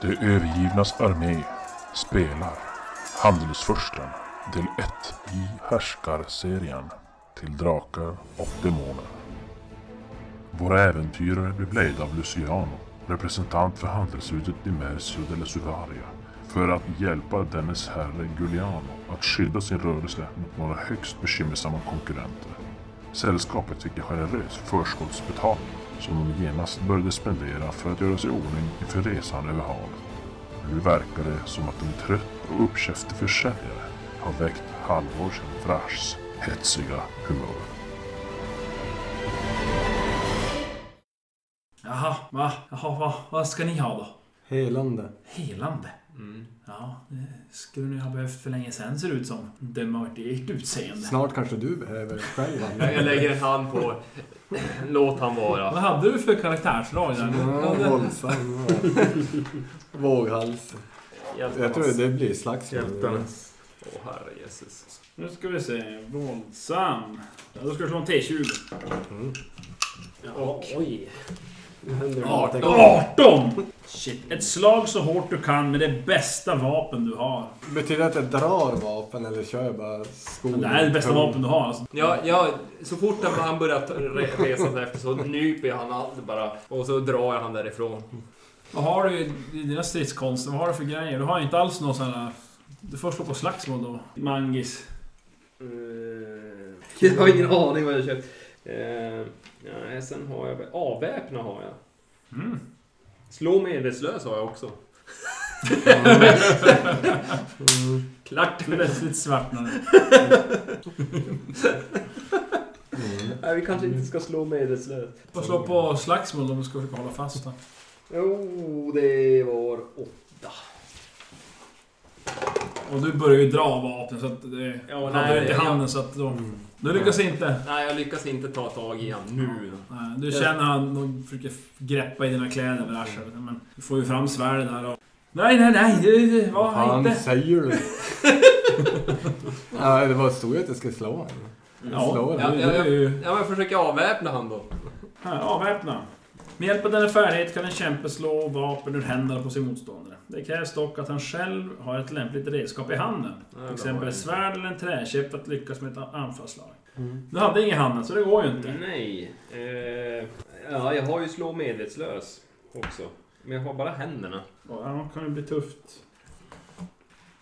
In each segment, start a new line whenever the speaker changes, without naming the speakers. De övergivnas armé spelar Handelsfursten del 1 i Härskarserien till Drakar och Demoner. Våra äventyrare blev ledda av Luciano, representant för handelshuset Dimersio della Suvaria, för att hjälpa dennes herre Giuliano att skydda sin rörelse mot några högst bekymmersamma konkurrenter. Sällskapet fick en generös förskottsbetalning som de genast började spendera för att göra sig i ordning inför resan över havet. Nu verkar det som att en trött och uppkäftig försäljare har väckt Halvors Vraschs hetsiga humör.
Jaha, va? Jaha, va? Vad ska ni ha då?
Helande.
Helande? Ja, det skulle ni ha behövt för länge sedan ser det ut som. Döma efter ert utseende.
Snart kanske du behöver själv
Jag, jag
Anna.
lägger en hand på... Låt han vara.
Vad hade du för karaktärsdrag där?
Ja, våldsam. ja. Våghals.
Hjältarnas.
Jag tror det blir slagsmål.
Hjältarnas. Åh herre Jesus.
Nu ska vi se. Våldsam. Ja, då ska du slå en T20.
Och... Oj.
Nu händer det någonting.
18! Shit. Ett slag så hårt du kan med det bästa vapen du har.
Betyder det att jag drar vapen eller kör jag bara skogen?
Det här är det bästa vapen du har alltså.
Ja, ja, så fort han- han börjar ta- re- resa sig efter så nyper jag han allt bara. Och så drar jag han därifrån.
Vad har du i i dina stridskonster? Vad har du för grejer? Du har ju inte alls någon sån här... Du får slå på slagsmål då. Mangis.
Eh, Jag har ingen aning vad jag köpt. Eh, nej, sen har jag väl... Avväpna har jag.
Mm.
Slå medvetslös har jag också. Klart!
Plötsligt svartnar det.
Mm.
Nej, vi kanske inte ska slå medvetslös.
Får slå på slagsmål om du ska försöka hålla fast den.
Jo, det var åtta.
Och du börjar ju dra av vapnet så att det...
Ja,
hade
nej,
du inte i
jag-
handen så att då...
Mm.
Du lyckas inte.
Nej, jag lyckas inte ta tag i han nu.
Nej, Du känner han de försöker greppa i dina kläder med arslet. Men du får ju fram svärdet där och... Nej, nej, nej! det- det-
Vad
Var
fan
inte...
säger du? ja, det var stod ju att jag skulle slå honom.
Ja,
slår
ja,
den.
ja, ja.
Ja, men försöker avväpna han då.
Här, Avväpna. Med hjälp av denna färdighet kan en kämpe slå vapen ur händerna på sin motståndare. Det krävs dock att han själv har ett lämpligt redskap i handen. Till exempel ett svärd eller en träkäpp för att lyckas med ett anfallsslag. Du hade ingen i handen, så det går ju
Mm.
inte.
Nej. Eh, ja, jag har ju slå medvetslös också. Men jag har bara händerna.
Ja, det kan ju bli tufft.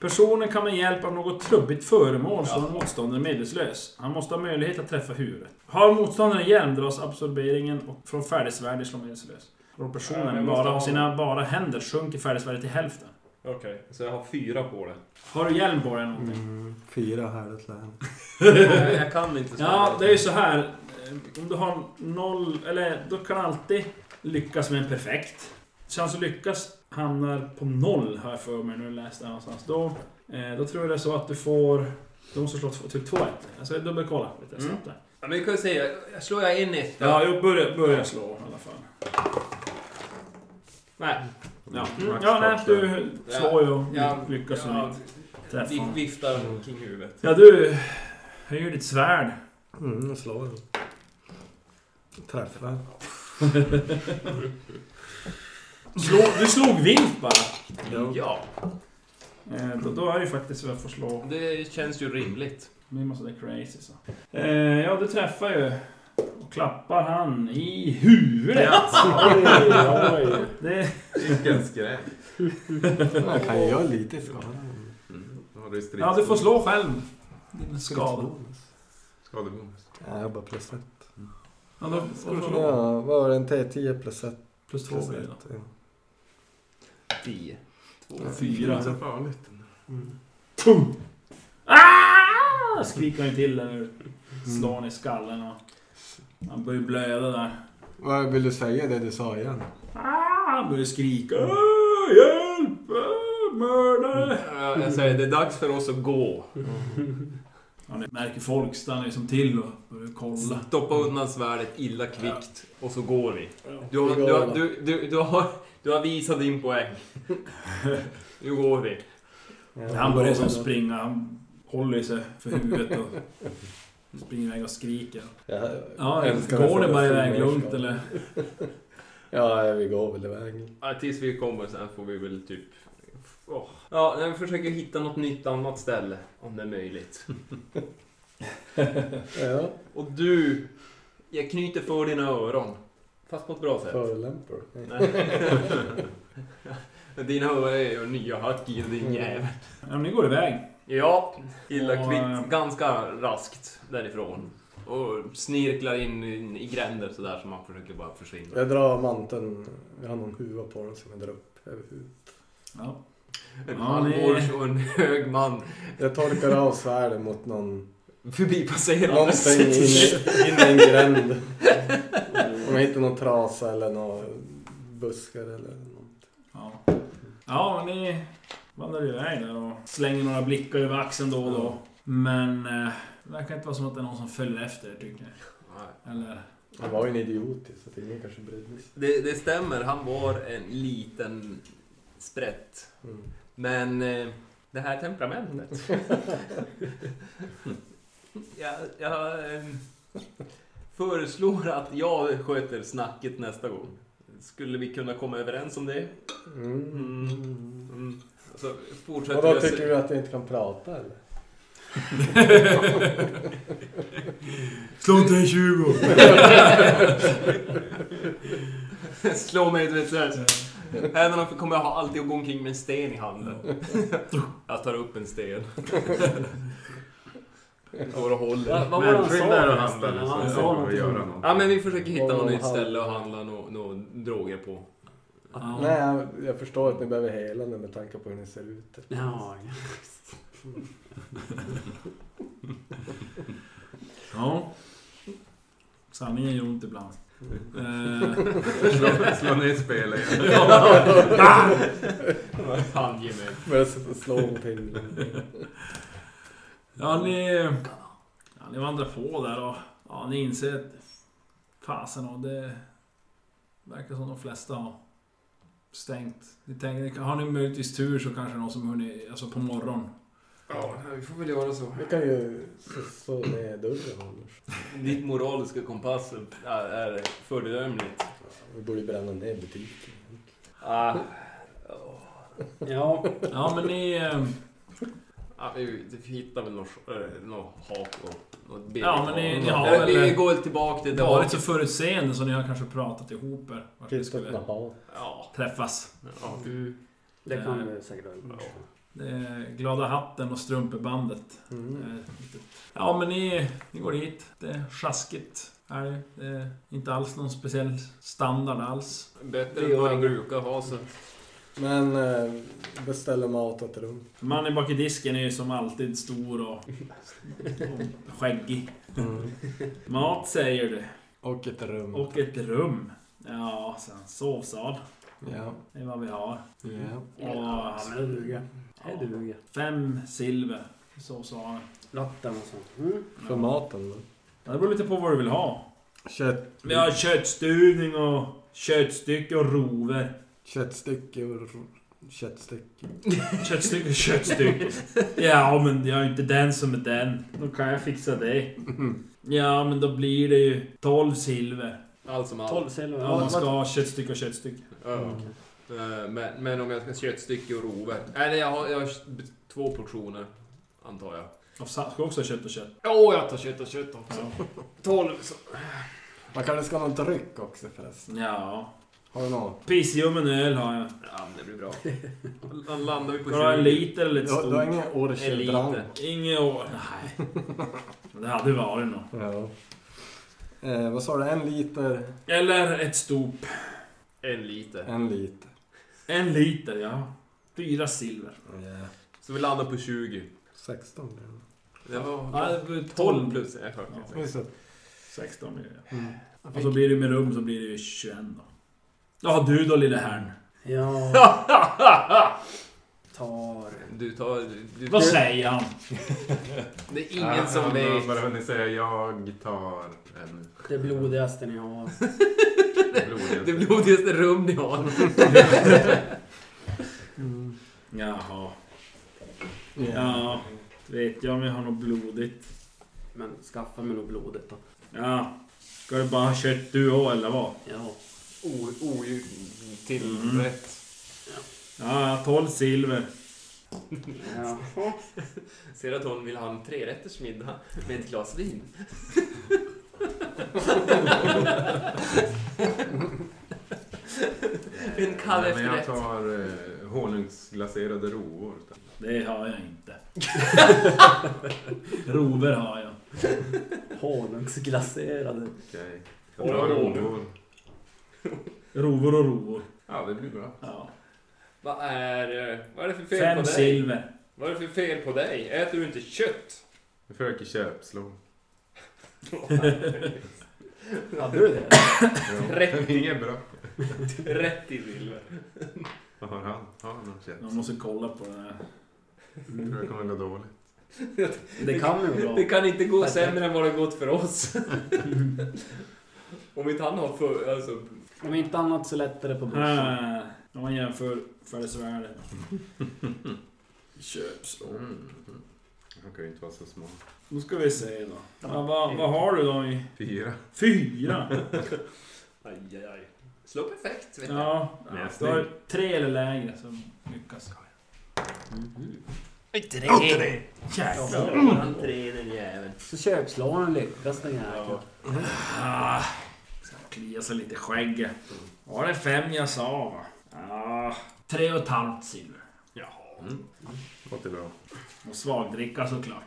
Personen kan med hjälp av något trubbigt föremål slå en motståndare medvetslös. Han måste ha möjlighet att träffa huvudet. Har motståndaren hjälm dras absorberingen och från färdigsvärdet slår medvetslös. Om
Ja,
personen
men måste
bara har
ha-
sina bara händer sjunker färdigsvärdet till hälften.
Okej. Så jag har fyra på det.
Har du hjälm på dig eller någonting?
Mm, fyra härligt län.
jag, jag kan inte slå
Ja,
med.
det är ju så här. eh, Om du har noll, eller du kan alltid lyckas med en perfekt. Chans att lyckas hamnar på noll, har jag för mig nu läste jag någonstans. Då, eh, då tror jag det är så att du får... Du måste slå två- typ 2 1 Alltså jag dubbelkollar lite snabbt där.
Ja, men vi kan ju säga, jag slår jag in ett.
Ja, jag börjar, börjar slå i alla fall.
Nej.
Ja, mm, ja nej, du slår ju och
Ja,
lyckas
ja,
med träff.
vi- Viftar kring huvudet.
Ja, du höjer ditt svärd.
Mm, jag slår. Träffar.
Slå, du slog vilt bara.
Ja.
Ja,
Eh, då, då är det ju faktiskt vad jag får slå.
det känns ju rimligt.
Nu måste det crazy så. Eh, ja, du träffar ju. Och klappar han i huvudet. Det,
Vilken skräck.
Jag kan ju göra lite skada.
Mm.
Då har du strids-
ja, du får slå själv. Din skada.
Skadebonus.
Skadebonus.
Ja, jag bara plus ett.
Ja, då får du slå.
Ja, vad var det? En T10 plus ett?
Plus två
Plus
blir det då.
ett, ja.
Tio. Två.
Fyra.
Det är farligt.
Mm.
Ah! Skriker han ju till där nu. Slår han i skallen och... Han börjar blöda där.
Vad vill du säga det du sa igen?
Ah, han börjar skrika. Ah, hjälp! Ah, mördare!
Ja, Jag säger, det är dags för oss att gå.
Ja, ni märker folk stannar ju som till och börjar kolla.
Stoppa undan svärdet illa kvickt och så går vi. Du
Vi
har,
går
du,
då.
har, du, du, du, har, du har visat din poäng. Nu går vi.
Han börjar som springa. Han håller sig för huvudet och springer iväg och skriker.
Ja,
Ja,
älskar
går
att
det bara
få
iväg
mer
lugnt
skada.
eller?
Ja, vi går väl iväg.
Ja, tills vi kommer sen får vi väl typ... Åh. Ja, nej, vi försöker hitta något nytt annat ställe om det är möjligt.
Ja,
Och du, jag knyter för dina öron. Fast på ett bra sätt.
förolämpor.
Nej. dina öron är ju nya hackil din jävel.
Ja, men ni går iväg.
Ja, illa
Och,
kvickt.
eh,
Ganska raskt därifrån. Och snirklar in i, i gränder sådär som man försöker bara försvinna.
Jag drar manteln. Jag har någon huva på den som jag drar upp över huvudet.
Ja.
En
Ja,
halvårs och en hög man
Jag torkar av svärden mot någon...
förbipasserande.
Någonting in, i- in i en gränd. Om jag hittar någon trasa eller några buskar eller något.
Ja, ja ni vandrar iväg där och slänger några blickar över axeln då och då. Men eh, det verkar inte vara som att det är någon som följer efter er, tycker
Nej.
jag. Eller...
Han var ju en idiot ju, så det är ingen kanske brydde sig.
Det, det stämmer, han var en liten sprätt.
Mm.
Men eh, det här temperamentet. jag jag eh, föreslår att jag sköter snacket nästa gång. Skulle vi kunna komma överens om det?
Mm.
Mm. Så
Och
fortsätter
då
jag se-
tycker du att jag inte kan prata eller?
Slå inte en 20!
Slå mig medvetslös. Händerna för- kommer jag ha alltid att gå omkring med en sten i handen. jag tar upp en sten. Går och håller.
Vad
var
var
det han
han
sa
där och handlar
förresten? Han
nu
sa
så får vi
någonting.
liksom. göra något.
Ja men vi försöker hitta
Och
något nytt
halv-
ställe att handla några nå droger på.
Ja.
Nej, jag, jag förstår att ni behöver hela nu med tanke på hur ni ser ut.
Ja, ja.
Ja. Sanningen gör ont ibland.
Mm.
Eh,
Slå- Slå ner spelet.
Fan ge mig.
Börjar s- slå mot himlen.
ja, ni, ja, ni vandrar på där och ja, ni inser att fasen och det verkar som de flesta har stängt. Ni tänker, har ni möjligtvis tur så kanske någon som hunnit, alltså på morgonen.
Ja, vi får väl göra så.
Vi kan ju s- slå ner dörren annars.
Ditt moraliska kompass är, är föredömligt.
Vi borde bränna ner butiken.
Ah.
ja.
Ja men ni... eh,
Ja, vi, vi hittar väl något, eh, något hak och något ben.
Ja, men ni- ni har
Eller,
väl-
Vi går tillbaka till det
varit så
haket.
förutseende så ni har kanske pratat ihop er. Vart ni
Tillstånd med
skulle
hat.
Ja.
träffas. Eh,
ja.
Mm. Det kan vi säkert ha gjort.
Det är glada hatten och strumpebandet.
Mm.
Eh, lite- Ja men ni, ni går dit. Det är sjaskigt. Är det. det är inte alls någon speciell standard alls.
Bättre än vad den brukar ha så.
Men eh, beställer mat åt rum.
Mannen bak i disken är ju som alltid stor och, och skäggig. Mm. Mat säger du.
Och ett rum.
Och ett rum. Ja, sen sovsal.
Ja.
Det är vad vi har.
ja.
Mm.
Ja, men det duger. Det duger.
Fem silver. i Sovsalen.
Latten och sånt. Mm.
För maten då?
Ja, det beror lite på vad du vill ha.
Kött,
Vi har köttstuvning och köttstycke och rover.
köttstycke och r- köttstycke.
Köttstycke och köttstycke. Ja, men jag är ju inte den som är den. Då kan jag fixa det. Ja, men då blir det ju 12 silver.
Allt som allt.
12 silver.
Om man
Ja,
ska ha köttstycke och köttstycke.
Ja. Eh, Men, men om jag ska köttstycke och rover. Eller jag har, jag har två portioner. Antar jag.
Och sa- ska också ha kött och kött.
Åh, jag tar kött och kött också.
Ja.
12 så.
Man kanske ska ha någon dryck också förresten.
ja.
Har du något?
Pissljummen öl har jag.
Ja, men det blir bra. Då landar vi på
Ska du ha en
20.
liter eller
Du
ett
har, du har
stort?
ingen orcheldrank?
Elite.
Inget år. Nej. Men Det hade varit något.
Ja. Eh, vad sa du? En liter?
Eller ett stop.
En liter.
En liter.
En liter, ja. Fyra silver.
Yeah.
Så vi landar på 20.
16 blir det.
Det
Ja,
var
det blir
12
12 plus.
plus. Jag skönt.
Ja.
Just det.
16 blir det.
Mm.
Och så blir det med rum så blir det ju 21 då. Ja du då lille herrn.
ja. Tar.
Du tar... Du,
Vad säger han?
det är ingen som
Han har bara
vet.
hunnit säga jag tar en
Det blodigaste ni har.
blodig.
Det blodigaste rum ni har.
Jaha.
Mm.
Ja. Vet jag om jag har något blodigt.
Men skaffa mig nog blodet då.
Ja. Ska du bara ha kött du och eller vad?
Ja.
o- o- Mm. tillrätt.
Ja, 12 silver.
Ja.
Ser att hon vill ha en trerättersmiddag med ett glas vin. en kall
Nej, men jag
efterrätt.
tar eh, honungsglaserade rovor.
Det har jag inte. Rover har jag.
Honungsglaserade.
Okej. Jag tar
Oj, oj, oj.
rovor.
Rovor och rovor.
Ja, det blir bra.
Ja.
Vad är, eh, vad är det för fel
Fem
på dig?
silver.
Vad är det för fel på dig? Äter du inte kött?
Jag försöker köpslå.
Hade du det?
Ja. Inget bra.
Rätt i silver.
Vad har han? Har han någon köpslå?
Jag måste kolla på det här.
Jag tror det kommer gå dåligt.
Mm. Det kan ju vara.
Det kan inte gå sämre än vad det gått för oss. Om inte han har för, alltså,
Om inte annat så lättare på bussen.
Här, om man jämför födelsevärde. Köpslå.
Mm. Han kan ju inte vara så små.
Då ska vi se då. Ja, vad, vad har du då i...
Fyra.
Fyra?
Aj, aj, aj. Slå perfekt, vet jag.
Ja. Du har tre eller lägre som lyckas.
Tre!
Jäklar.
Han tre, den jäveln.
Så köpslåren lyckas den jäkeln.
Ja. Ah, ska klia sig lite i skägget. Var det fem jag sa? va? Ah, tre och ett halvt silver. Jaha.
Mm. Låter bra.
Och svagdricka såklart.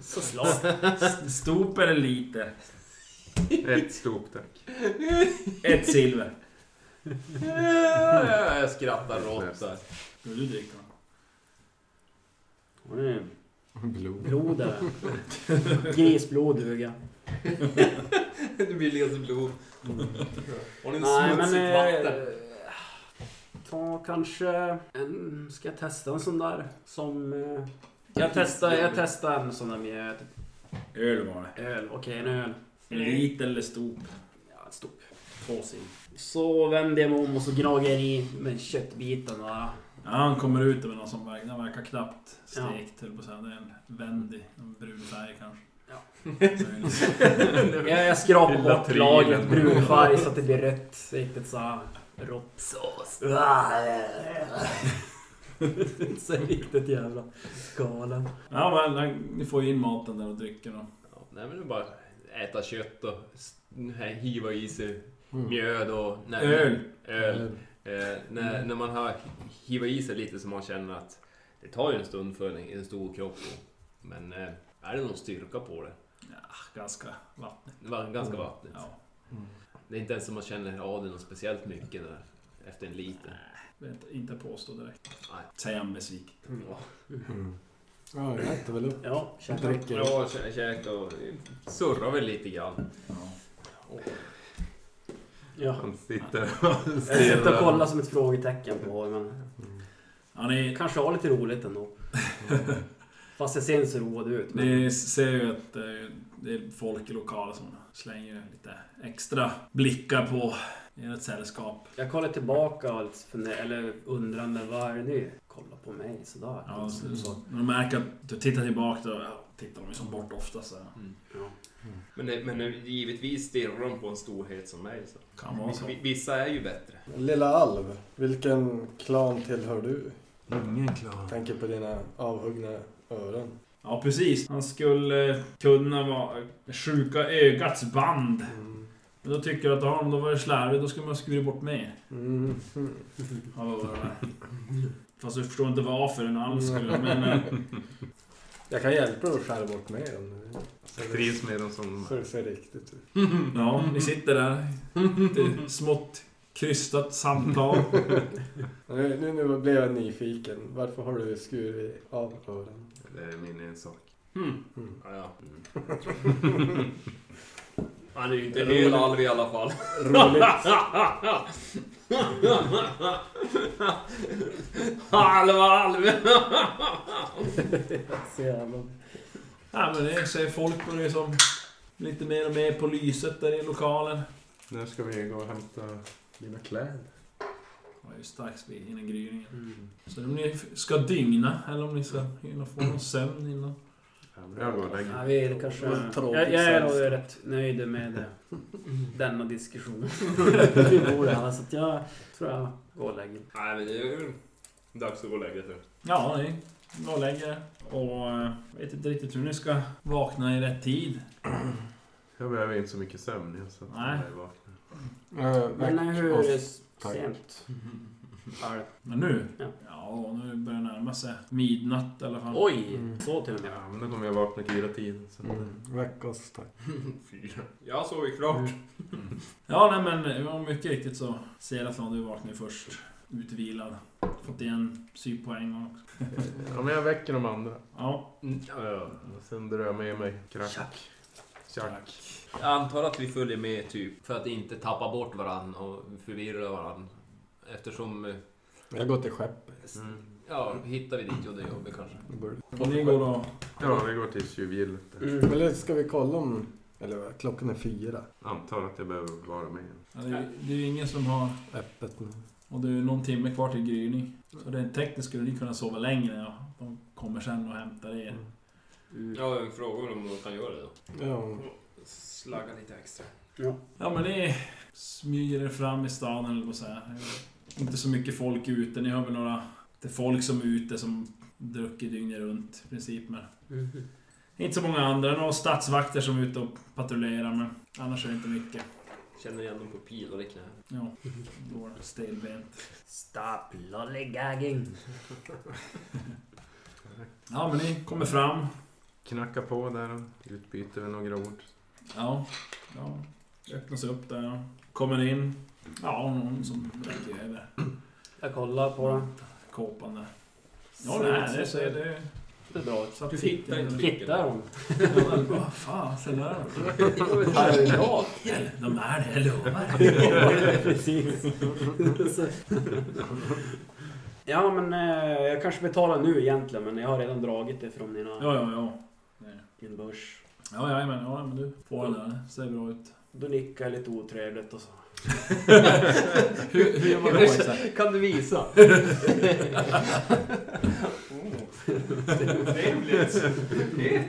Så slåss.
S- Stop eller lite?
Ett stop tack.
Ett silver.
Ja, jag skrattar rått
Ska
där.
du dricka?
Mm.
Blod.
Blod är det. Grisblod duger.
Det billigaste blod. Har ni
Nej men...
smutsigt vatten?
Eh, ta kanske en... Ska jag testa en sån där som... Eh, jag testar jag testar en sån där med
Öl var det.
öl. Okej, en öl.
Elit eller stop?
Ja, en stop.
Två silver.
Så vänder jag mig om och så gnagar jag i med köttbiten där.
Ja, han kommer ut med någon som verkar, den verkar knappt stekt, höll på att säga. Det är en vändig, en brun färg kanske.
Ja.
Så är det lite-
Jag, jag skrapar
Lilla
bort lagret
trilen.
brun färg så att det blir rött. Riktigt så här rått. Sås. så riktigt jävla galen.
Ja, men han- ni får ju in maten där och drycken och...
Ja, Nej men det är bara äta kött och s- nej, hiva i sig mjöd och... Nej,
Öl.
öl. Eh, när, när man har hivat i sig lite så man känner att det tar ju en stund för en, en stor kropp. Men eh, är det någon styrka på det?
Ganska vattnigt.
Det var ganska vattnigt.
Ja.
Det är inte ens som man känner att ja, det är något speciellt mycket där efter en liter.
Vet inte påstå direkt.
Nej.
Säger han besviken.
Ja.
Ja, jag äter väl upp.
Ja,
Jag
käka.
dricker.
Ja, kä- käka och surra väl lite grann.
Ja.
Ja.
Han sitter och
Jag sitter och kollar
stirrar.
som ett frågetecken på honom, men
Ja, ni,
kanske har lite roligt ändå. Fast jag ser inte så road ut. Men...
ni ser ju att eh, det är folk i lokalen som slänger lite extra blickar på ert sällskap.
Jag kollar tillbaka och lite funder- eller undrande, vad är det nu? Kolla på mig sådär.
Ja, så, så. När de märker att du tittar tillbaka, då ja, tittar de ju som bort ofta. Så.
Ja.
Mm. Men, det- men eh, givetvis stirrar de på en storhet som mig. Så.
Kan vara så.
Vi- Vissa är ju bättre.
Lilla Alv, vilken klan tillhör du?
Ingen klar.
Tänker på dina avhuggna öron.
Ja, precis. Han skulle eh, kunna vara eh, sjuka ögats band.
Mm.
Men då tycker jag att ja, om då var det slarvigt, då skulle man skurit bort mer.
Mm.
Ja, vad var det där? Fast jag förstår inte varför den alls skulle... Men, eh,
Jag kan hjälpa dig att skära bort med dem. Så
Jag
det,
trivs med dem som...
så det ser riktigt ut.
Ja, ni sitter där. Ett smått krystat samtal.
Nu, nu, nu blev jag nyfiken. Varför har du skurit av öronen?
Det är min ensak.
Hmm.
Mm.
Ja, ja.
Mm.
Han är ju inte
Roligt.
hel alv i alla fall.
Roligt.
Halva alv!
Så jävla...
Ja, men det ser folk på det som lite mer och mer på lyset där i lokalen.
När ska vi gå och hämta dina kläder?
Det var ju strax vid- innan
Mm.
gryningen. Så om ni f- ska dygna eller om ni ska hinna få någon sömn innan.
Jag går och lägger
Ja, vi är kanske...
Vad tråkigt
Jag, jag är nog
sällskap.
rätt nöjd med eh, denna diskussion. vi
Mm.
bor här, så att jag tror jag går och lägger mig.
Nej, men det är ju dags att gå och lägga sig.
Ja, ni går och lägger er. och eh, vet inte riktigt hur ni ska vakna i rätt tid.
Jag behöver inte så mycket sömn. jag, Så att
Nej.
Jag är vaken.
Eh,
Men
väck
hur Mm.
oss.
sent är det?
Men nu?
Ja.
Ja, nu börjar det närma sig midnatt i alla fall.
Oj!
Mm.
Så typ. till och med.
Ja, men då kommer jag vakna fyra tiden. Så.
Mm, väck oss, tack.
Fyra. Jag sov ju
Mm.
klart.
Ja, nej men ja, mycket riktigt så Seraflon, du vaknar ju först. Utvilad. Fått igen sypoäng också.
Ja, men jag väcker de andra.
Ja,
Mm, ja, ja.
Och sen drar jag med mig krack. Tjack.
tack.
Jag antar att vi följer med typ för att inte tappa bort varann och förvirra varann. Eftersom... eh,
Jag går till skeppet.
s-
Mm.
Ja, hittar vi dit och det gör vi kanske.
Det borde-
Och ni går och...
Ja, vi går till tjuvgillet.
Mm, eller ska vi kolla om... Eller vad, klockan är fyra.
Antar att jag behöver vara med.
Ja, det, är- det är ju ingen som har...
Öppet nu.
Och det är någon timme kvar till gryning. Så rent tekniskt skulle ni kunna sova längre. Ja. De kommer sen och hämtar er.
Ja, jag frågar om de kan göra det då.
Ja,
Slagga lite extra.
Ja men ni smyger er fram i stan eller vad säger jag. Inte så mycket folk ute. Ni har väl några... Det är folk som är ute som druckit dygnet runt i princip. Men inte så många andra. Några stadsvakter som är ute och patrullerar men annars är det inte mycket.
Känner igen dem på pilar i knä.
Ja, då var det stelbent.
Stop lollygagging.
Ja men ni kommer fram.
Knacka på där och utbyter vi några ord.
Ja, ja. Öppnas upp där. ja. Kommer in. Ja, någon som räcker över
Jag kollar på den.
kåpan där. Ja, nej, det ser det.
Det är bra.
Så att
Du hittar inte
Ja,
Hittar hon?
men Vad fan, sen är de.
Paranoid?
Hel- De är det, jag lovar.
Precis. ja, men eh, jag kanske betalar nu egentligen, men jag har redan dragit det från mina,
Ja, ja, ja.
min börs.
Ja, ja, men, ja, men du får den där. Det ser bra ut.
Då nickar jag lite otrevligt och så.
Hur, hur gör man då? Isak?
Kan du visa?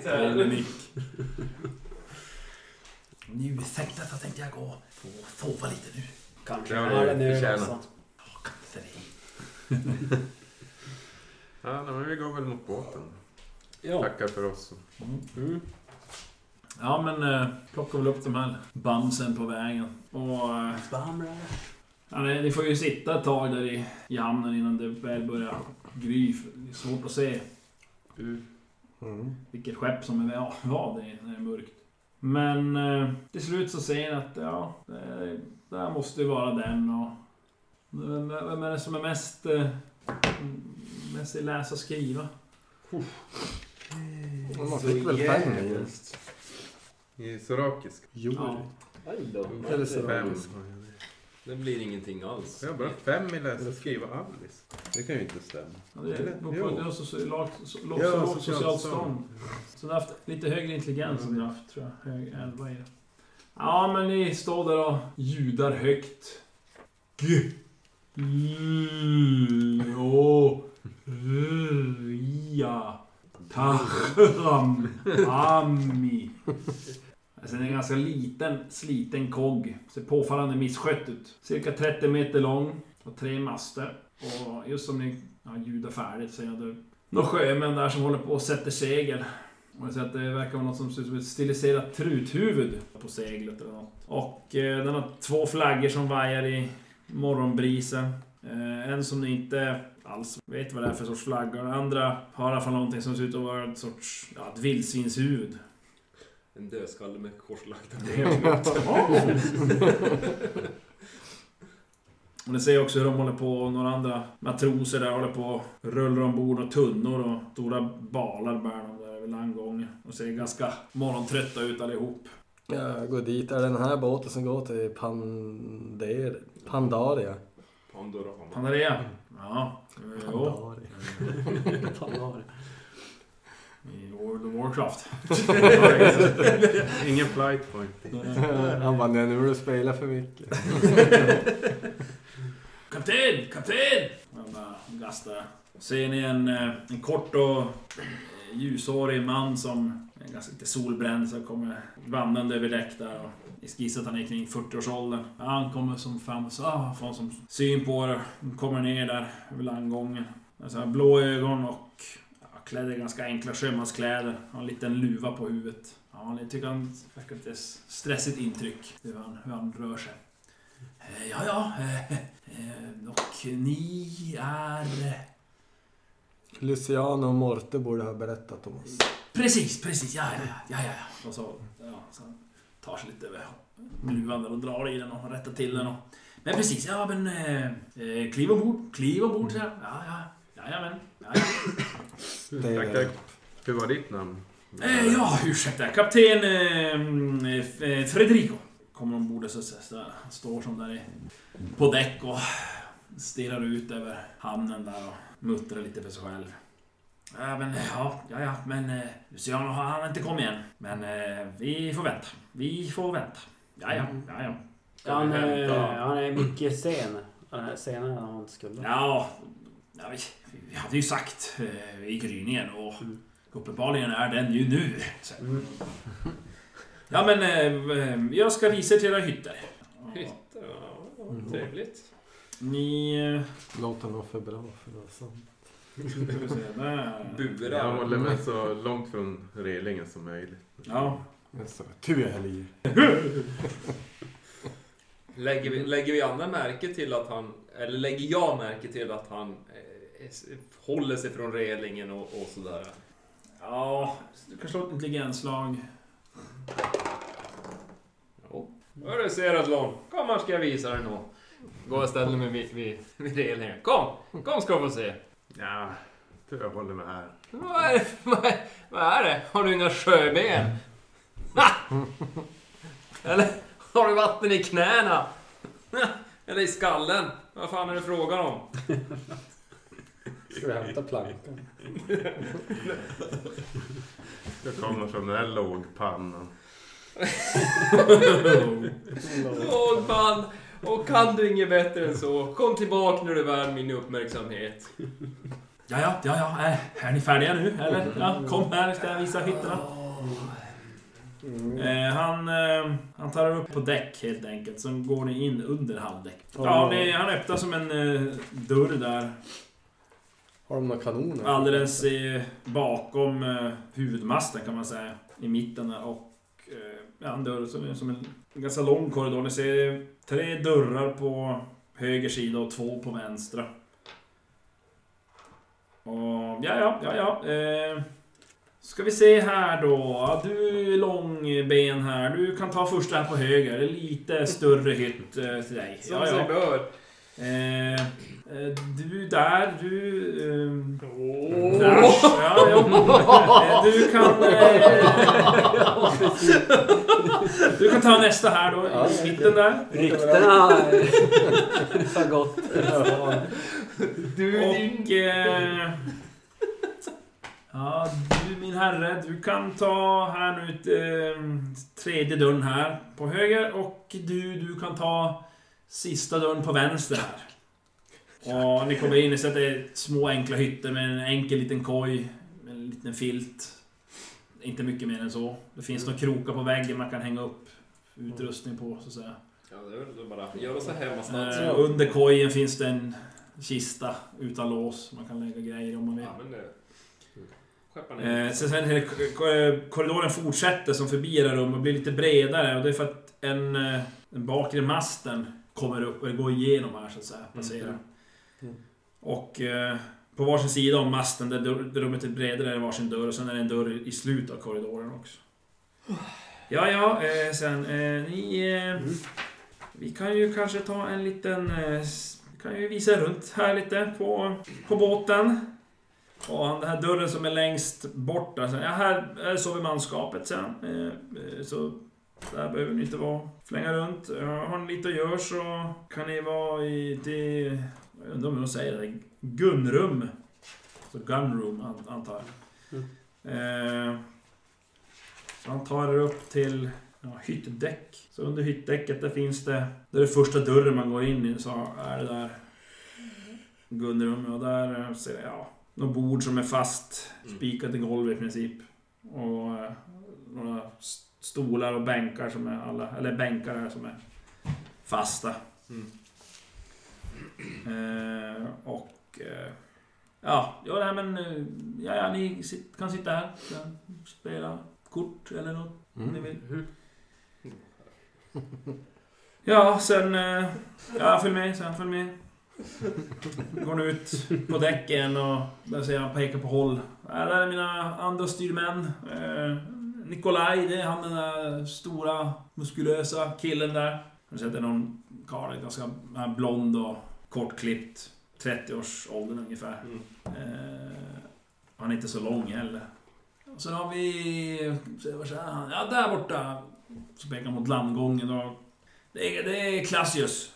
Eller nick. Om ni ursäktar så tänkte jag gå och sova lite nu.
Kanske
Ja,
ja,
det
är det nu
förtjänat.
alltså.
Ja, kanske det.
Ja, nej, men vi går väl mot båten.
Ja.
Tackar för oss.
Mm.
Mm.
Ja men eh, plockar väl upp de här bamsen på vägen. Och eh,
Bamra.
ja, ni, ni får ju sitta ett tag där i, i hamnen innan det väl börjar gry. för Det är svårt att se
mm.
vilket skepp som är ja, vad det är när det är mörkt. Men eh, till slut så säger ni att ja, det, det här måste ju vara den och... Vem, vem är det som är mest... Eh, mest i läsa och skriva?
Och man fick väl fem i
I sorakisk.
jord.
Oj då.
Mm.
Eller
Fem.
så.
Det blir ingenting alls.
Jag har bara fem i läsa och skriva Alice. Det kan ju inte stämma.
Ja, det är-
Eller?
beror på
Jo.
det är också så- lag- så- lag-
Ja,
så lågt
socialt
socialt
stånd.
stånd. Så du har haft lite högre intelligens än du har haft, tror jag. Hög 11 är det. Ja, men ni står där och ljudar högt. G. L. O. R. Ja. Tahram. Ami. Sen är en ganska liten, sliten kogg. Ser påfallande misskött ut. Cirka 30 meter lång och tre master. Och just som ni ja, ljudar färdigt så är det några sjömän där som håller på och sätter segel. Och jag ser att det verkar vara något som ser ut som ett stiliserat truthuvud på seglet eller något. Och eh, den har två flaggor som vajar i morgonbrisen. Eh, en som ni inte alls vet vad det är för sorts flagga. Den andra har i alla fall någonting som ser ut att vara en sorts, ja, ett vildsvinshuvud.
En dödskalle med korslagda
Det är helt Och ni ser också hur de håller på, och några andra matroser där håller på och rullar ombord och tunnor och stora balar bär de där över landgången. Och ser ganska morgontrötta ut allihop.
Jag går dit. Är det den här båten som går till Pander... Pandaria?
Pandorama.
Panarea? Ja. eh, Jo.
Pandaria.
I World of Warcraft.
Ingen flight point.
Mm. Han bara, nej nu har du spelat för mycket.
Kapten! Kapten! Och jag bara gastar. Ser ni en, eh, en kort och eh, ljushårig man som är ganska lite solbränd som kommer vandrande över däck där och jag skissar att han är kring 40-årsåldern. Ja, han kommer som fram och så ah, får han som syn på det. Han kommer ner där över landgången. Han har så här blå ögon och ja, klädd i ganska enkla sjömanskläder. Har en liten luva på huvudet. Ja, jag tycker han verkar lite stressigt intryck hur han, hur han rör sig. Eh, Ja, ja. eh, eh, Och ni är...
Luciano och Morte borde ha berättat om oss.
Precis, precis. Ja, ja, ja. ja, ja. Och så, ja, så han tar sig lite över luvan där och drar i den och rättar till den. Och, men precis, ja men... eh, Eh, kliv ombord, kliv ombord säger jag. Ja, ja. Jajamän. Ja, ja.
Det
Tack,
är
Eh,
tack. Hur var ditt namn?
Eh, ja, ursäkta. Kapten eh, mm, eh, Fredrico kommer ombord och så, så, så, står som där i, på däck och stirrar ut över hamnen där och muttrar lite för sig själv. Ja, men ja, ja, ja, men eh, Luciano han har inte kommit än. Men eh, vi får vänta. Vi får vänta. Ja, ja, ja, ja.
Ska
Han
vi
är,
hämta-
han är mycket sen. Han är Senare än han skulle.
Ja, ja vi, vi hade ju sagt eh, i gryningen och uppenbarligen är den ju nu. Så. Ja men eh, jag ska visa till era hytter.
Hytter, ja. vad Trevligt.
Ni... eh,
Låter nog för bra för att vara sant.
ska vi se, där.
Burar.
Jag håller mig så långt från relingen som möjligt.
Ja.
Men så, Tur jag höll i.
Lägger vi, lägger vi andra märke till att han, eller lägger jag märke till att han eh, s- håller sig från relingen och, och sådär?
Ja, du kan slå ett intelligensslag.
Jo. Hörru Seratlon, kom här ska jag visa dig något. Gå och ställ mig vid, vid, vid relingen. Kom, kom ska du få se.
Ja, tror jag håller mig här.
Vad är det? Vad är, vad är det? Har du inga sjöben? Ha! Eller har du vatten i knäna? Eller i skallen? Vad fan är det frågan om?
Ska vi hämta plankan?
Jag kommer från den här lågpannan.
Åh fan! Och kan du inget bättre än så? Kom tillbaka när du är värd min uppmärksamhet.
Ja, ja, ja, ja. eh, Är ni färdiga nu? Eller? Ja, kom här ska jag visa hytterna.
Mm.
Eh, han, eh, han tar upp på däck helt enkelt, sen går ni in under halvdäck. Ja, ni, han öppnar som en eh, dörr där
Har de några kanoner?
alldeles eh, bakom eh, huvudmasten kan man säga. I mitten där och eh, ja, en dörr som är som en ganska lång korridor. Ni ser tre dörrar på höger sida och två på vänstra. Och ja, ja, ja, ja. Eh, ska vi se här då. Ja, Du är långben här. Du kan ta första här på höger. Det är lite större hytt eh, till dig.
Som
Ja,
sig
ja.
bör.
Eh, eh, du där, du... ehm,
Åh.
Nash, ja, ja. Du kan... eh, Du kan ta nästa här då, i mitten där.
Mm.
Ryktena har gått.
Du din...
Och... eh, Ja, du min herre, du kan ta här nu ett, eh, tredje dörren här på höger och du, du kan ta sista dörren på vänster här. Och ni kommer in och ser att det är små enkla hytter med en enkel liten koj, med en liten filt. Inte mycket mer än så. Det finns några krokar på väggen man kan hänga upp utrustning på så att säga.
Ja, det är väl bara... Gör oss hemma snart.
Eh, under kojen finns det en kista utan lås. Man kan lägga grejer om man vill.
Ja, men det... Skeppa ner.
Eh, sen, sen eh, k- k- korridoren fortsätter som förbi era rum och blir lite bredare. Och det är för att en, eh, den bakre masten kommer upp och går igenom här så att säga. Passerar.
Mm.
Och eh, på varsin sida om masten där, dörr, där rummet är bredare är det varsin dörr. Och sen är det en dörr i slutet av korridoren också. Ja, ja, eh, sen eh, ni... Eh, Vi kan ju kanske ta en liten... Eh, s- vi kan ju visa runt här lite på, på båten. Och han- den här dörren som är längst bort där, så, ja, här, här sover manskapet sen. Eh, eh, så där behöver ni inte vara. Flänga runt. Ja, har ni lite att göra så kan ni vara i det... Jag undrar om de säger det. Gunrum. Så gunroom an, antar jag. Eh, så han tar er upp till ja, hyttdäck. Så under hyttdäcket där finns det... Det är den första dörren man går in i. Så är det där... Gunrum. Och där eh, ser jag... Ja, något bord som är fast spikat i golvet i princip. Och eh, några s- stolar och bänkar som är alla, eller bänkar här som är fasta.
Mm.
Eh, och eh, ja, ja, nej, men eh, ja, ja, ni sit, kan sitta här och spela kort eller något om
Mm.
ni vill. Ja, sen... eh, Ja, följ med, sen följ med. Går nu ut på däcken och där ser han pekar på håll. Ja, där är mina andra styrmän. Eh, Nikolaj, det är han den där stora muskulösa killen där. Har du sett det? någon karl, ganska han är blond och kortklippt. 30-årsåldern ungefär.
Mm.
Eh, han är inte så lång heller. Och sen har vi... se, Vad säger han? Ja, där borta. Så pekar han mot landgången. Och det, är, det är Klassius.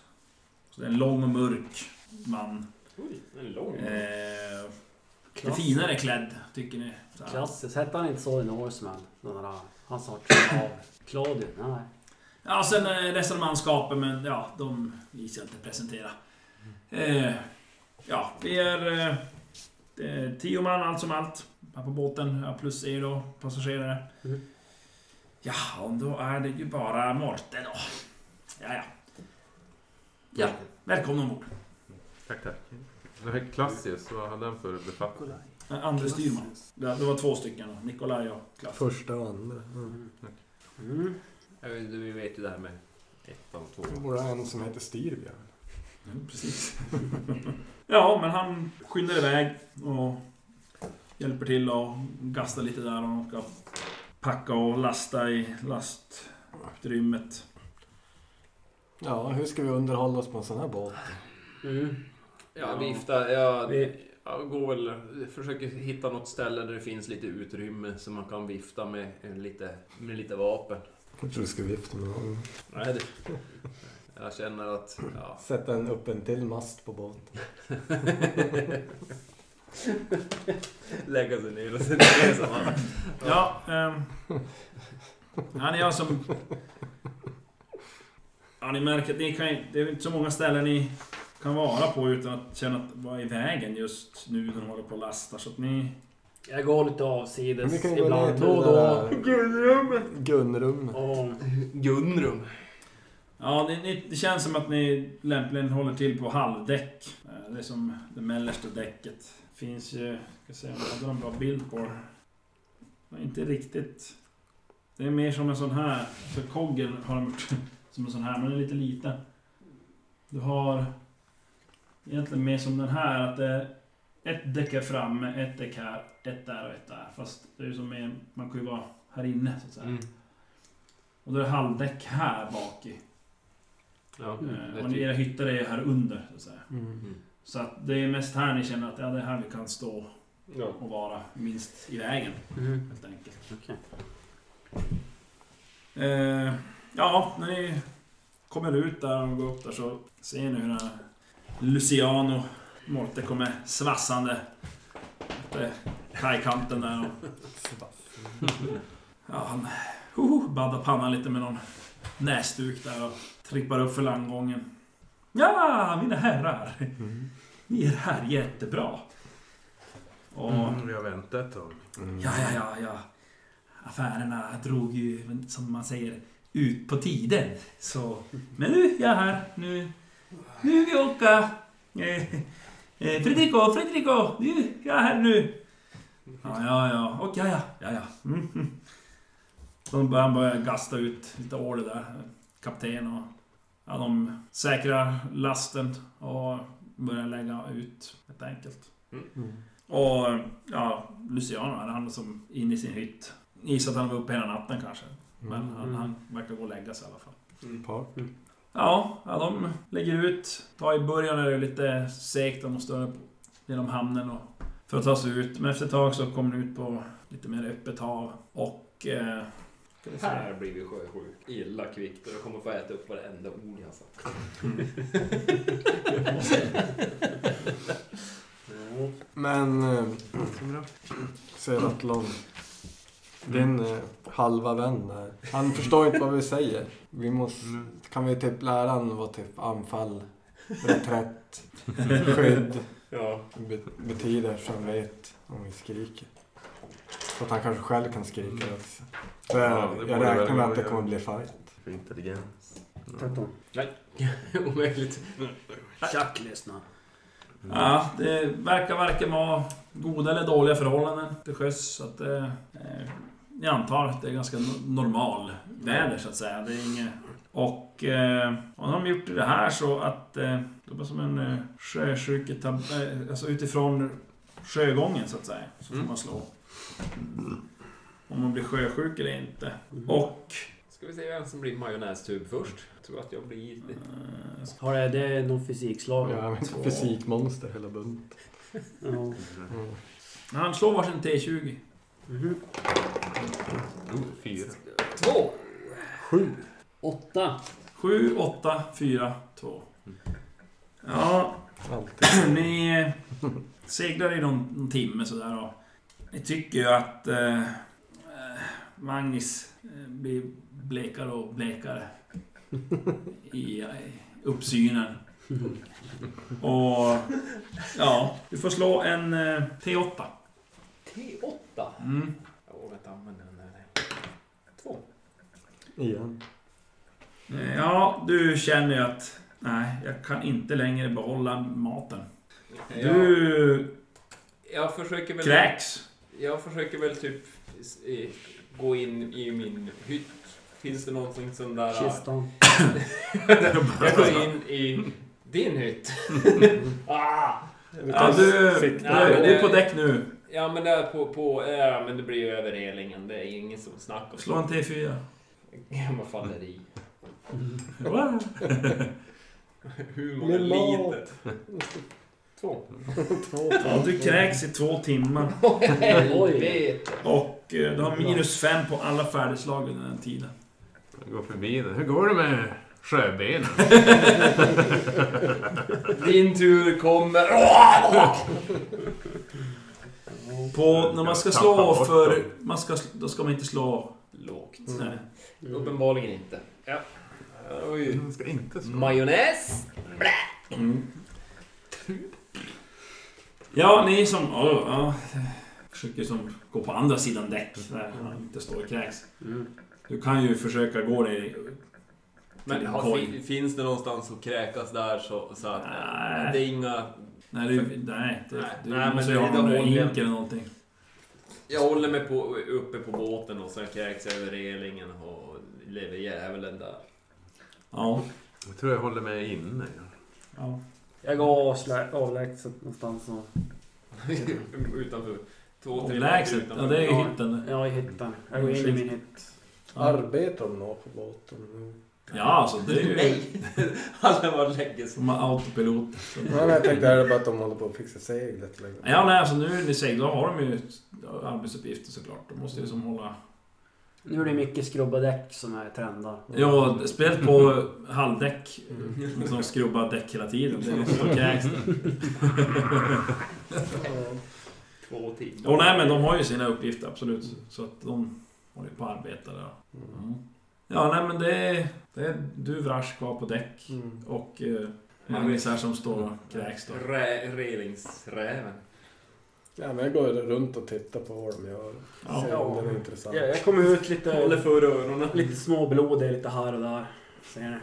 Så det är en lång och mörk man.
Oj, den är lång.
Eh, lite
Klass.
finare klädd, tycker ni. Så här.
Klassiskt. Hette han inte så i Norseman? Den där, han sa Claude. Claudio? Nej.
Ja, sen eh, resten av manskapen, men ja, de visar jag inte presentera. Eh, ja, vi är eh, eh, tio man allt som allt. Här på båten, ja, plus er då, passagerare.
Mm.
Ja, och då är det ju bara Morte då. Ja, ja. Ja, välkomna ombord.
Tack, tack. Den här Klassius, vad hade han för befattning?
Eh, Andre styrman. Det det var två stycken, då, Nikolaj och Klaff.
Första och andra. Mm.
Mm.
Jag vet- Vi vet ju det här med ettan och
Det
tvåan.
borde ha en som heter Styrbjörn.
Mm, precis. ja, men han skyndar iväg och hjälper till och gastar lite där och ska packa och lasta i lastrummet.
Ja, hur ska vi underhålla oss på en sån här båt?
Mm.
Ja, vifta. Jag,
Vi-
jag går väl, försöker hitta något ställe där det finns lite utrymme så man kan vifta med eh, lite, med lite vapen.
Jag tror du ska vifta med någon.
Nej, det, jag känner att... Ja.
Sätta en, upp en till mast på båten.
Lägga sig ner och sen resa man.
Ja, ehm, han är jag som... Ja, ni märker att ni kan, ju- det är väl inte så många ställen ni kan vara på utan att känna att vara i vägen just nu när de håller på och lastar. Så att ni...
Jag går lite
Men vi
avsides
kan ju gå ner
ibland
till
då och
det
då.
där Gunnrummet. Gunnrummet.
Och
Gunrum.
Ja, det, ni, det känns som att ni lämpligen håller till på halvdäck. Eh, Det är som det mellersta däcket. Finns ju... Ska se om jag hade en bra bild på det. Nej, Inte riktigt. Det är mer som en sån här. För koggen har de gjort som en sån här, men den är lite liten. Du har egentligen mer som den här, att det är ett däck är framme, ett däck här, ett där och ett där. Fast det är ju som mer, man kan ju vara här inne så att säga.
Mm.
Och då är det halvdäck här bak i.
Ja,
Mm.
det typ-
Och era
tycker-
hytter är här under. Så att, säga.
Mm.
så att det är mest här ni känner att ja, det är här vi kan stå
Ja.
och vara minst i vägen.
Mm.
Helt enkelt.
Okej.
Eh, ja, när ni kommer ut där och går upp där så ser ni hur den här Luciano Morte kommer svassande efter kajkanten där. Och, ja, han uh, baddar pannan lite med någon näsduk där och trippar upp för landgången. Ja, mina herrar! Ni är här jättebra! Och
Mm, jag väntade ett tag.
Mm.
Ja, ja, ja, ja. Affärerna drog ju, som man säger, ut på tiden. Så, men nu är jag här. Nu, nu vill jag åka. Eh, eh, Fredrico, Fredrico, nu är jag här nu. Ja, ja, ja, och ja, ja, ja, ja. Mm. mm. Så börjar han börjar gasta ut lite order där. Kapten och ja, de säkrar lasten och börjar lägga ut helt enkelt.
Mm.
Och ja, Luciano här, han är som inne i sin hytt. Gissar att han var uppe hela natten kanske.
Mm.
Men han, han verkar gå och lägga sig i alla fall.
Mm.
Par.
Ja, ja, de lägger ut. Ta I början är det lite segt, de måste röra på genom hamnen och för att ta sig ut. Men efter ett tag så kommer de ut på lite mer öppet hav. Och... Eh, ska vi se.
Här blir vi sjösjuk. Illa kvickt och jag kommer få äta upp varenda ord jag sagt.
Men... Eh, Seratlon. Din eh, halva vän där. Han förstår inte vad vi säger. Vi måste... Kan vi typ lära honom vad typ anfall, reträtt, skydd,
Ja.
Be- betyder så han vet om vi skriker. Så att han kanske själv kan skrika också. Så jag,
Ja, det borde
jag
väl
räknar med att det
vara-
kommer bli fight.
För intelligens.
Omöjligt.
Chuck lyssna.
Mm. Ja, det verkar varken vara goda eller dåliga förhållanden till sjöss. Så att, eh, eh, jag antar att det är ganska no- normal väder så att säga. Det är inget... Och eh, om de gjort det här så att eh, det var som en eh, sjösjuketab- eh, alltså utifrån sjögången så att säga. Så får man slå. Om man blir sjösjuk eller inte. Och...
Ska vi se vem som blir majonnästub först? Jag tror att jag blir...
Eh,
Har det, det är nog fysikslag.
Ja, men
Två.
fysikmonster hela bunt.
Ja.
Oh,
Mm.
han slår varsin T20.
Mhm.
Oh, Fyra.
Två!
Sju.
Åtta.
7, 8, 4, 2. Ja,
Alltid.
ni eh, seglar i någon, någon timme sådär och ni tycker ju att eh, eh, Magnus eh, blir blekare och blekare i, eh, uppsynen. Och ja, du får slå en eh, T8.
T8.
Mm.
Jag vågar inte använda den där.
Igen.
Eh, Ja, du känner ju att nej, jag kan inte längre behålla maten. Du
Jag försöker väl...
kräks.
Jag försöker väl typ s- i- gå in i min hytt. Finns det någonting sån där...
Kistan.
jag går in i din hytt. ah!
Ja, du,
Nej, men
du är
det-
på däck nu.
Ja men där på... på ja, men det blir ju över relingen. Det är ingen som snackar.
Slå en T4.
Gammal falleri.
Wow.
Hur många
Med mat.
liter? Två.
Två.
Ja, du kräks i två timmar.
Helvete.
Och eh, du har minus fem på alla färdigslag under den tiden.
Jag går förbi den. Hur går det med sjöbenen?
Din tur kommer.
På, när man ska slå för... Man ska, då ska man inte slå...
Lågt.
Nej.
Uppenbarligen inte. Ja. Oj.
Jag ska inte slå.
Majonnäs.
Ja, ni som... Ja, ja, försöker som gå på andra sidan däck. Där han inte står och kräks.
Mm.
Du kan ju försöka gå ner...
Men
till en
har,
korg.
fin- finns det någonstans som kräkas där så, så att...
Nej.
Det är inga...
Nej, du, nej, det,
Nej,
du
nej, men
måste ju
det-
ha
det
någon
håller jag.
hink eller någonting.
Jag håller mig på, uppe på båten och sen kräks jag över relingen och lever djävulen där.
Ja.
Jag tror jag håller mig inne.
ja.
Jag går avslä- avlägset någonstans. Och,
utanför. Två, tre meter
Avlägset. Ja,
utanför.
det är ju hytten.
ja, jag hittar. Jag går in i min hytt.
Ja.
Arbetar de nå på båten?
Ja, alltså det är ju...
Nej! Alla bara lägger sig.
De har autopilot.
Nej, men jag tänkte är det bara att de håller på att fixa seglet. Eller?
Ja, nej, alltså nu ni seglar har de ju arbetsuppgifter såklart. De måste ju som hålla...
Nu är det mycket skrubbadäck som är trendar.
Ja, speciellt på halvdäck. Som skrubbar däck hela tiden. Det är liksom kräks det.
Två timmar.
Och nej, men de har ju sina uppgifter absolut. Så att de håller ju på att arbeta där. Mm. Ja, nej men det är, det är du Vrash kvar på däck.
Mm.
Och eh, Magnus här som står och kräks då.
Rä, relingsräven.
Ja, men jag går runt och tittar på vad de gör.
Ja.
Ser om den är intressant.
Jag, jag kommer ut
Håller
lite,
för öronen.
lite småblodig lite här och där. Ser ni?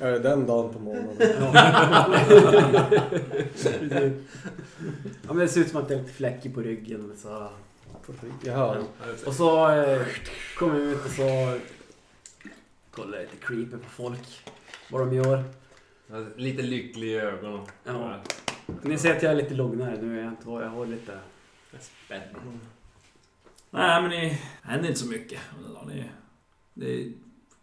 Är det den dagen på månaden?
Ja, men det ser ut som att det är lite fläckig på ryggen. och Så här.
Jaha.
Och så eh, kom jag ut och så kollade lite creepy på folk. Vad de gör.
Lite lycklig i ögonen.
Ja. Ni ser att jag är lite lugnare nu. är Jag, inte, jag har lite...
Spännande.
Nej, men ni det händer inte så mycket. under dagen. Ni, ni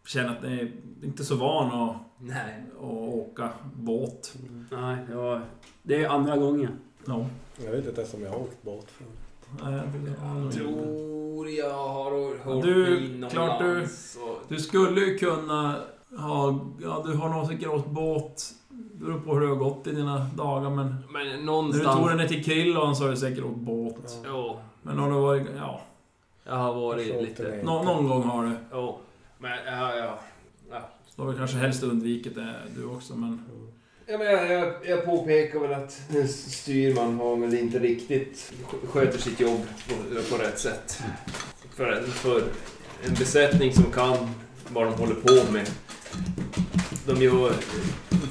känner att ni är inte så van att
Nej.
och åka båt.
Nej, det, var, det är andra gången.
Ja. Eh,
Jag vet inte ens om jag har åkt båt förut.
Jag tror jag har hört
Du,
mig
klart du-
inomlands och...
Du skulle ju kunna ha... Ja, du har nog säkert åkt båt. Det beror på hur det har gått i dina dagar, men...
Men
När du tog
någonstans...
dig ner till Krillon så har du säkert åkt båt.
Ja.
Ja,
Men har du varit... Ja,
jag har
Så
varit
åkte
lite...
ni.
nå, någon gång har du.
Ja. Men ja, ja.
Då har vi kanske helst undvikit det, du också, men...
Mm.
Ja, men jag, jag, jag påpekar väl att en styrman har väl inte riktigt sk- sköter sitt jobb på, på rätt sätt. För, en- för en besättning som kan vad de håller på med. De gör,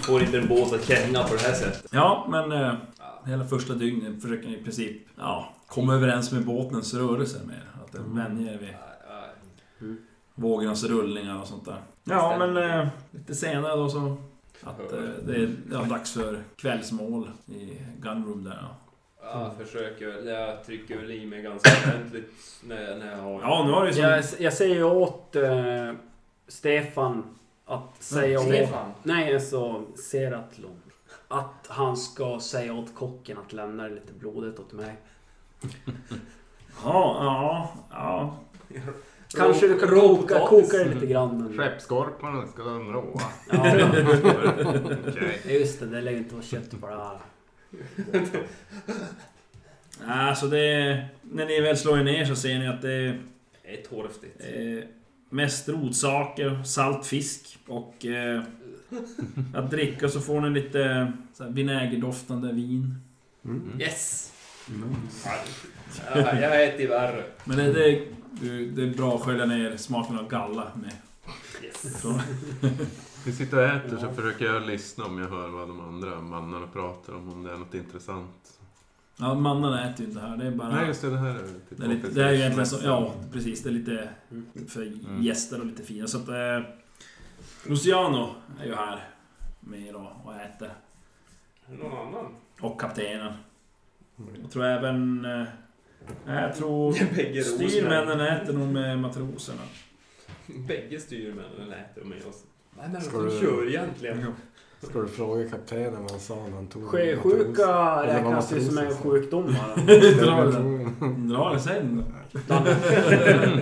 får inte en båt att känna på det här sättet.
Ja, men eh, hela första dygnet försöker ni i princip ja, komma överens med båtens rörelser mer. Att den vänjer er vid vågornas rullningar och sånt där. Ja, men eh, lite senare då så... Att eh, det är ja, dags för kvällsmål i Gunroom där. Ja.
Jag försöker, jag trycker väl i mig ganska ordentligt när, när jag har...
ja, nu har det ju som...
Jag, jag säger ju åt eh, Stefan att säga åt...
Stefan.
Nej, alltså Seratlon. Att han ska säga åt kocken att lämna lite blodet åt mig.
Ja, ja, ja.
Kanske du kan
Rå-
koka,
rå-
koka det lite grann. Men,
Skeppskorparna ska de råa.
ja,
Okej.
just det, det lär ju inte vara kött på det här.
Alltså det... När ni väl slår er ner så ser ni att det är
Det är torftigt.
eh, mest rotsaker, salt fisk och... Eh, att dricka så får ni lite så här, vinägerdoftande vin.
Mm.
Yes!
Mm.
Ja, jag äter värre.
Men det, det, det är bra att skölja ner smaken av galla med.
Yes.
Så.
Vi sitter och äter så försöker jag lyssna om jag hör vad de andra mannarna pratar om, om det är något intressant.
Ja, mannarna äter ju inte här. Det är bara...
Nej just det, det här är typ
Det är, lite, det är ju egentligen så, ja precis, det är lite för gäster och lite fina. Så att... Eh, Luciano är ju här med idag och äter.
Någon annan?
Och kaptenen.
Mm.
Jag tror även... Eh, jag tror
Bägge rosorna.
styrmännen äter nog med matroserna.
Bägge styrmännen äter med oss. Vad är det
Ska
som
du-
kör egentligen?
Ska du fråga kaptenen vad han sa när han tog
Sjösjuka
Eller vad
räknas ju som en
matrosen sa.
sjukdom. va?
Dra den. Dra den sen då.
Bland,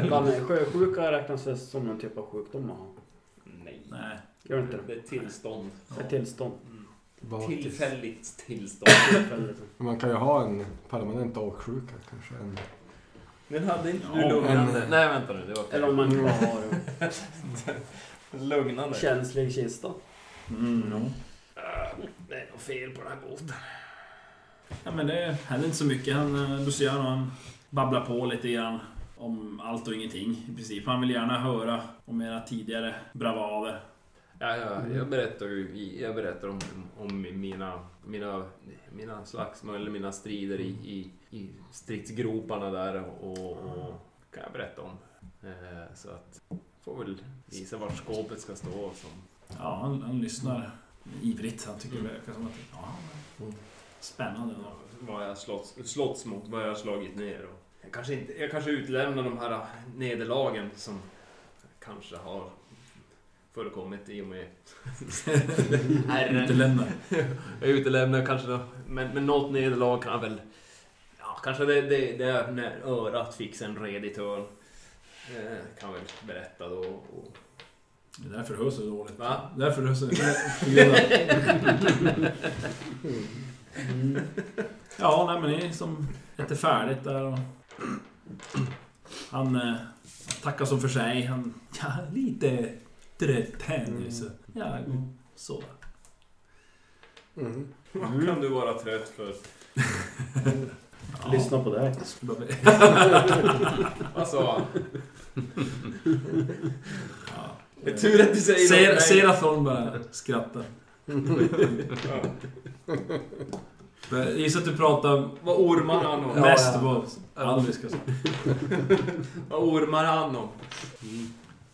bland sjösjuka räknas det som någon typ av sjukdom man har.
Nej.
Nej.
Gör det inte det?
Det är tillstånd. Mm.
Ett tillstånd.
Bakis.
Tillfälligt tillstånd.
Men Man kan ju ha en permanent avsjuka kanske. En,
Men hade inte
Ja,
du lugnande?
men-
Nej vänta nu, det var fel.
Eller om man kan ha en
Lugnande?
känslig kista.
Mm, ja.
Ah, det är något fel på den här båten.
Ja men det händer inte så mycket. Han, eh, Luciano han babblar på lite grann om allt och ingenting i princip. Han vill gärna höra om era tidigare bravader.
Ja, ja, jag berättar ju jag berättar om, om mina, mina, mina slagsmål, eller mina strider i, i, i stridsgroparna där och, och kan jag berätta om. Eh, så att får väl visa vart skåpet ska stå. Som,
Ja, han, han lyssnar ivrigt. Han tycker det verkar som att... Ja, men spännande. ändå.
vad jag slåss, slåss mot, vad jag har slagit ner. Och jag, kanske inte, jag kanske utelämnar de här nederlagen som kanske har förekommit i och med herren.
Utelämnar.
Jag utelämnar kanske då, men, men något nederlag kan jag väl... Ja, kanske det, det, det är när örat fick sig en redig törn. Eh, kan väl berätta då. Och,
Det är därför det hörs så dåligt.
va?
Därför det hörs så dåligt.
Mm.
Ja, nej men det är som lite färdigt där och... Han eh, tackar som för sig. Han... Ja, lite trött här nu
Mm.
så... Ja, så.
mm.
Vad kan du vara trött för?
Ja.
Lyssna på det här.
Vad sa han?
Ja.
Det är tur att du säger
Ser,
något.
Serathon bara skrattar. Jag gissar att du pratar
Vad ormar han om?
mest
ja.
på alviska. så.
Vad ormar han om?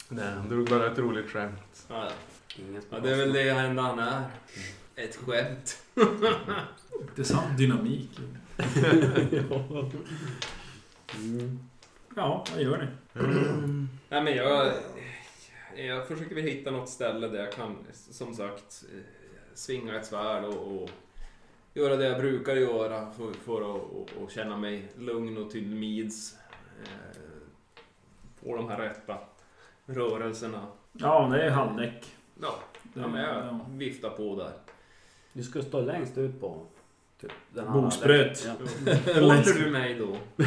Nej, han drog bara ett roligt skämt.
Ja,
Inget
ja, det är väl det enda han är. Ett skämt.
Intressant dynamik.
Mm.
Ja, vad gör ni?
Mm.
Nej men jag... Jag försöker väl hitta något ställe där jag kan, som sagt, eh, svinga ett svärd och, och göra det jag brukar göra för, för att och, och känna mig lugn och till mids. Eh, Få de här rätta rörelserna.
Ja, det är halvdäck.
Ja, ja men
Mm,
jag viftar på där.
Du ska stå längst ut på... Typ, den här-
Bogspröt.
Ja.
Håller du mig då?
Ja.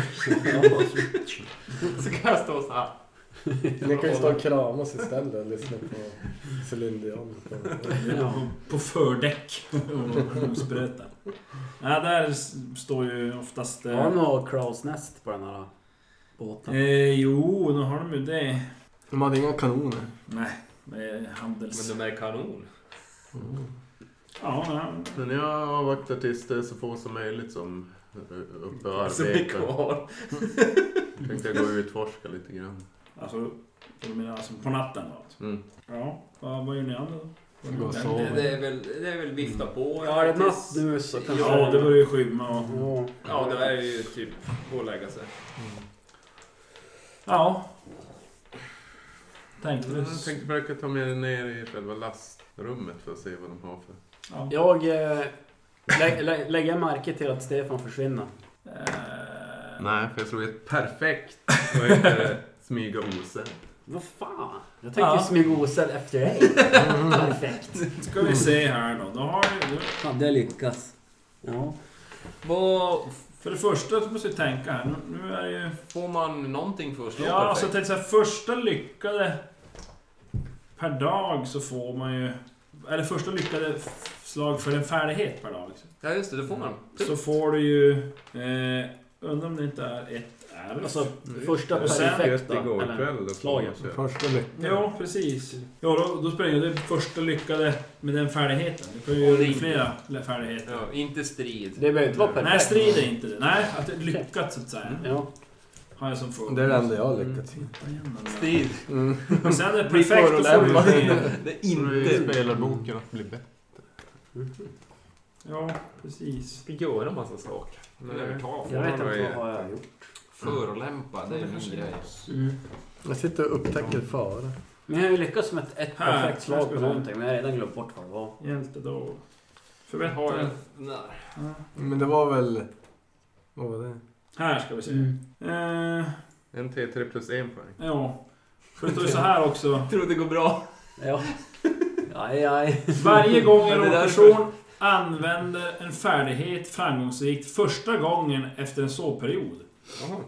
Så kan jag stå så här.
Ni kan ju stå och kramas istället och lyssna på Céline Dion.
På, på fördäck och mosbröta. Ja, där s- står ju oftast... Eh,
Har de något crow's nest på den här båten?
eh, jo, nu har de ju det.
De hade inga kanoner.
Nej, det är handels...
Men de är kanon.
Ja, ja.
Men jag avvaktar tills det är så få som möjligt som är uppe och
Som är
arbetar.
kvar.
Tänkte jag gå och utforska lite grann.
Alltså, du menar alltså på natten då? alltså?
Mm.
Ja, vad, vad gör ni andra då?
Gå och sova.
Det, det, är väl, det är väl vifta på.
Ja, är det natt
tills-
nu så kanske...
Ja, det börjar ju skymma och...
Ja.
Ja, det är ju typ gå och lägga sig.
Ja. Tänkte
Mm,
du...
Jag tänkte försöka ta med det ner i själva lastrummet för att se vad de har för...
Ja.
Jag eh, lä- lä- lägger märke till att Stefan försvinner.
Eh,
Nej, för jag slog ett perfekt. Vad heter det? Smyga osedd.
Vad fan? Jag
Ja.
tänker ja. smyga osedd efter dig. Perfekt.
Ska vi se här då. då har ju,
Hade jag lyckats. Ja.
Vad...
för det första så måste vi tänka här. Nu, nu är det ju...
Får man någonting för att slå
Ja, alltså jag tänkte så här, första lyckade per dag så får man ju... Eller första lyckade f- slag för en färdighet per dag. liksom.
Ja, just det. Det får man.
Så får du ju... Eh, undrar om det inte är ett R.
Alltså första
Och sen-
perfekta.
igår
eller-
kväll. då
slaget.
får man köra.
Första lyckan.
Ja, precis. Ja, då, då spelar det första lyckade med den färdigheten. Du kan ju
Och
göra
ring.
flera lä- färdigheter.
Ja, inte strid.
Det behöver inte vara
Nej,
perfekt.
strid är inte det. Nej, att det är lyckat så att säga.
Ja.
Har jag som fråga.
Det är det enda jag har lyckats med.
Strid.
Mm.
Och sen är det
Vi
perfekt
får
att få
lämna.
med.
Det är
Tror
inte...
du i spelarboken att bli bättre?
Ja, precis.
Vi göra massa saker.
Nej.
Övertala.
Jag vet inte
Vad är-
vad har jag gjort.
Förolämpa, det är min grej.
Jag sitter och upptäcker fara.
Men jag har ju lyckats med ett, ett
Här,
perfekt
här
slag
ska
på
vi se.
någonting. Men jag har redan glömt bort vad det var.
Hjälte då.
Har
Förbättra.
jag... Nej.
Ja.
Mm,
Men det var väl... Vad var det?
Här ska vi se. Eh,
En T3 plus en poäng.
ja. För det står ju så här också.
Tror det går bra.
Ja. Aj, aj.
Varje gång en
Men det där-
rollperson använder en färdighet framgångsrikt första gången efter en sovperiod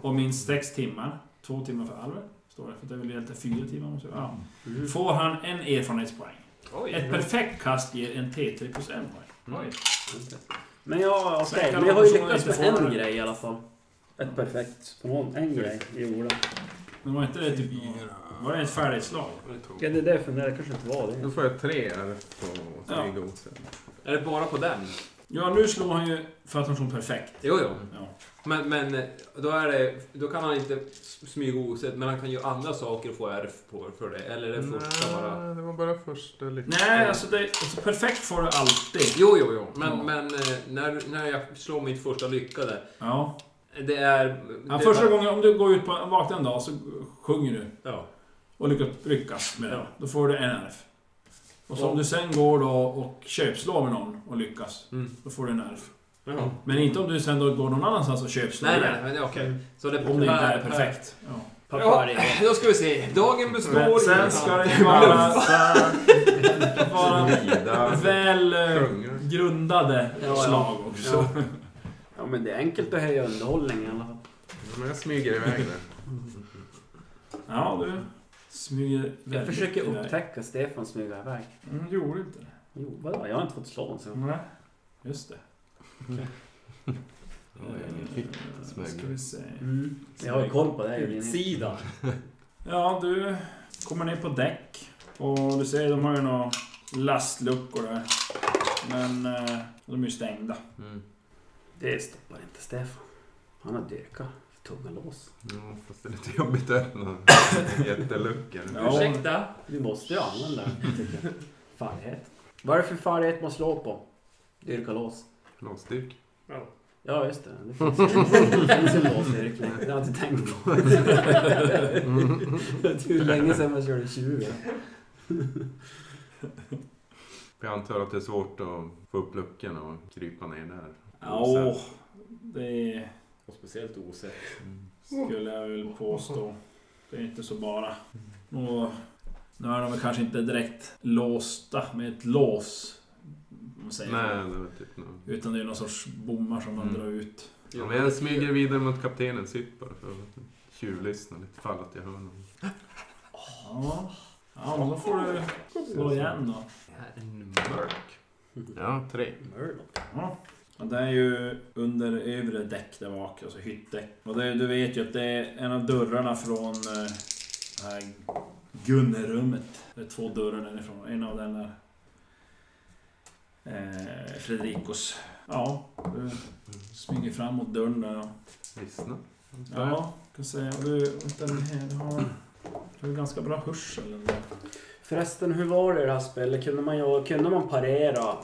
om minst 6 timmar, 2 timmar för Alver, står det, för det är väl egentligen 4 timmar måste jag ja.
Mm.
Får han en erfarenhetspoäng.
Oj.
Ett perfekt kast ger en T3 plus en poäng.
Oj.
Men jag,
Sen kan
okay. men jag har ju
personen
lyckats
inte
med
få
en
det.
grej i alla fall. Ett perfekt. på någon- En grej i orden.
Men var inte det typ... Var det ett färdighetslag?
Ja, det är det jag funderar. Det kanske inte var det.
Då får jag tre här på smyga osedd.
Är det bara på den?
Ja, nu slår han ju för att han slår perfekt.
Jo, jo.
Ja.
Men, men då, är det, då kan han inte s- smyga osett, men han kan göra andra saker och få R på, för det. Eller är det första bara?
Nej, det var bara första lyckan.
Nej, alltså, det, alltså perfekt får du alltid.
Jo, jo, jo. Men,
Ja.
men eh, när, när jag slår mitt första lyckade,
Ja.
det är...
ja
det
första
är,
gången, om du går ut på en vaknar en dag så sjunger du
Ja.
och lyckas, lyckas med det. Då får du en RF. Och så
Ja.
om du sen går då och köpslår med någon och lyckas,
Mm.
då får du en RF.
Ja.
Men inte om du sen då går någon annanstans och köpslår.
Mm. Nej,
igen.
nej, men det är okej. Så det
Om det inte
per-
är perfekt. Ja.
Ja,
Papari.
då ska vi se. Dagen består
Men
i-
sen ska det ju vara, vara
Vida.
väl eh,
Sjunga.
grundade
Ja, ja.
slag också.
Ja. ja, men det är enkelt att höja underhållning i alla fall.
Men jag smyger iväg det.
Ja, du smyger
Jag
väldigt
försöker
iväg.
upptäcka Stefan smyga iväg.
Mm, gjorde inte det.
Jo, vadå? Jag har inte fått slå honom så.
Nej, just det.
Oj,
Eh, ska vi se.
Mm. Jag har ju koll på det. Linné.
Utsidan.
Ja, du kommer ner på däck. Och du ser, de har ju några lastluckor där. Men eh, de är ju stängda.
Mm.
Det stoppar inte Stefan. Han har dökat. Tunga lås.
Ja, fast det är lite jobbigt att öppna jätteluckor.
Ja.
Ursäkta?
Du måste ju använda den, tycker jag. Farlighet. Vad är det för farlighet man slår på? Dyrka lås.
Låsdyrk.
Ja, just det. Det finns ju, det finns ju låsdyrkning. Det har jag inte tänkt på. Det är ju länge sedan man körde tjuv.
För Jag antar att det är svårt att få upp luckorna och krypa ner där.
Ja,
Osett.
det Mm.
Och speciellt osett.
skulle jag väl påstå. Det är inte så bara. Och nu är de väl kanske inte direkt låsta med ett lås. Om man säger
Nej,
så.
det var typ någon...
Utan det är någon sorts bommar som man
Mm.
drar ut.
Ja, men jag smyger vidare mot kaptenens hytt bara för att tjuvlyssna lite ifall att jag hör någon.
Ja. Ja, men då får du slå igen då.
Det här är en mörk.
Ja, tre.
Ja. Och det är ju under övre däck där bak, alltså hyttdäck. Och det, du vet ju att det är en av dörrarna från eh, det här Gunnerummet. Det är två dörrar därifrån. En av den är eh, Fredrikos. Ja, du smyger fram mot dörren där. och-
Lyssna.
Ja, kan säga. Och Du, vänta, den här, du, har, du har ganska bra hörsel ändå.
Förresten, hur var det i det här spelet? Kunde man, göra- kunde man parera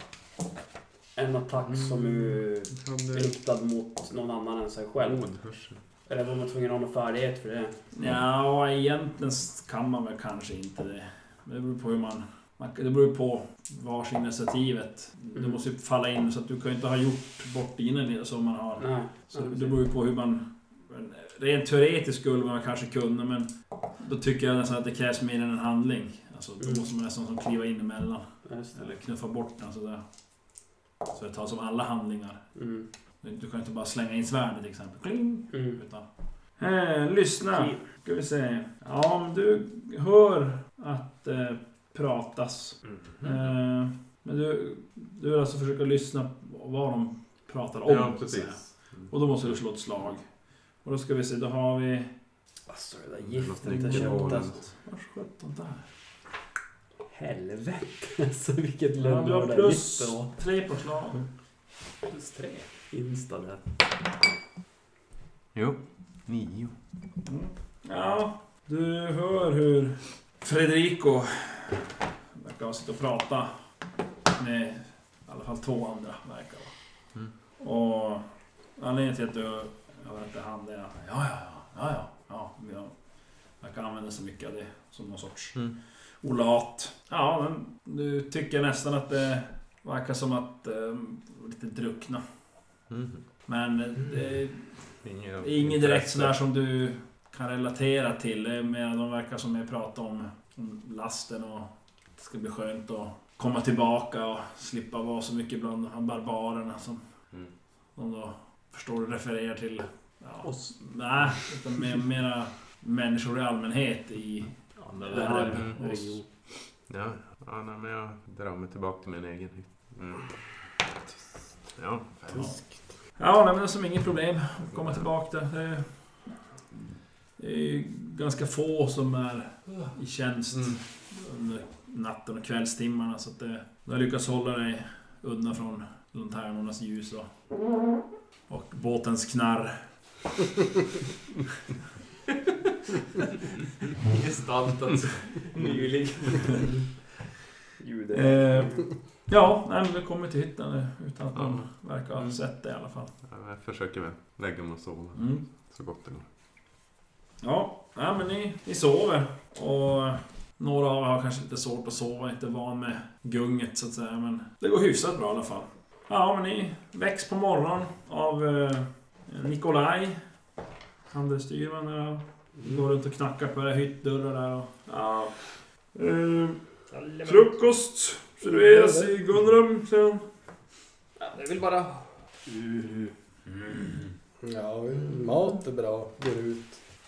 en attack som är riktad mot någon annan än sig själv?
Ordhörsel.
Eller var man tvungen att ha någon färdighet för det?
Ja, egentligen kan man väl kanske inte det. Men Det beror på hur man... man det beror ju på vars initiativet. Det
Mm.
måste ju falla in så att du kan ju inte ha gjort bort dina nere som man har.
Nej.
Så
Ja,
det
precis.
beror ju på hur man... men Rent teoretiskt skulle man kanske kunna men då tycker jag nästan att det krävs mer än en handling. Alltså, då
Mm.
måste man nästan som kliva in emellan.
Ja, just
Eller knuffa bort den sådär. Så det tar som alla handlingar.
det. Mm.
Du kan inte bara slänga in svärdet till exempel. Kling!
Mm.
Utan... Eh, lyssna! Ska vi se. Ja, men du hör att eh, pratas.
Mm.
Mm.
Eh, men du, du vill alltså försöka lyssna på vad de pratar om.
Ja,
så att säga.
precis.
Och då måste du slå ett slag. Och då ska vi se, då har vi...
Alltså det där
Något
giftet jag
nyckelhål
köpte.
eller
alltså.
något.
Vars sjutton där?
Helvete alltså vilket
Ja,
lönnmördar
du har
ja,
plus
gifte var.
tre på slag.
Plus tre.
Insta där.
Jo, nio.
Mm. Ja, du hör hur Fredrico verkar sitta och prata med i alla fall två andra. Verkar
Mm.
mm. Och anledningen till att du hör att det är han det är att ja, ja, ja, ja, ja, ja. Jag verkar använda så mycket av det som någon sorts
Mm.
olat. Ja, men du tycker nästan att det verkar som att eh, lite druckna.
Mm.
Men det,
Ingen,
det är Inget direkt sådär som du kan relatera till. Det är mer de verkar som jag pratar om, om lasten och det ska bli skönt att komma tillbaka och slippa vara så mycket bland de här barbarerna som
Mm.
de då förstår du refererar till. Ja,
Oss.
nej, utan mer, mera människor i allmänhet i
Andra
världen.
världen.
Och-
Ja, ja nej, men jag drar mig tillbaka till min egen hytt. Mm. Ja, fem.
Ja, nej, men det är som inget problem att komma tillbaka där. Det är- Det är ju ganska få som är i tjänst under natten och kvällstimmarna. Så att det, du har lyckats hålla dig undan från lanternornas ljus och, och båtens knarr.
Gestaltat nyligen.
Eh, ja, nej, men du kommer till hytten eh, utan att de
Mm.
verkar ha sett det i alla fall.
Ja, jag försöker väl lägga mig och sova
Mm.
så gott det går.
Ja, nej, men ni, ni sover. Och några av er har kanske lite svårt att sova, inte van med gunget så att säga. Men det går hyfsat bra i alla fall. Ja, men ni väcks på morgonen av eh, Nikolaj. Handelsstyrman där. och Går runt och knackar på era hyttdörrar där och... Ja. Eh, frukost serveras i Gunnrum, säger han.
Ja, det är väl bara...
Ja, mat är bra. Går ut.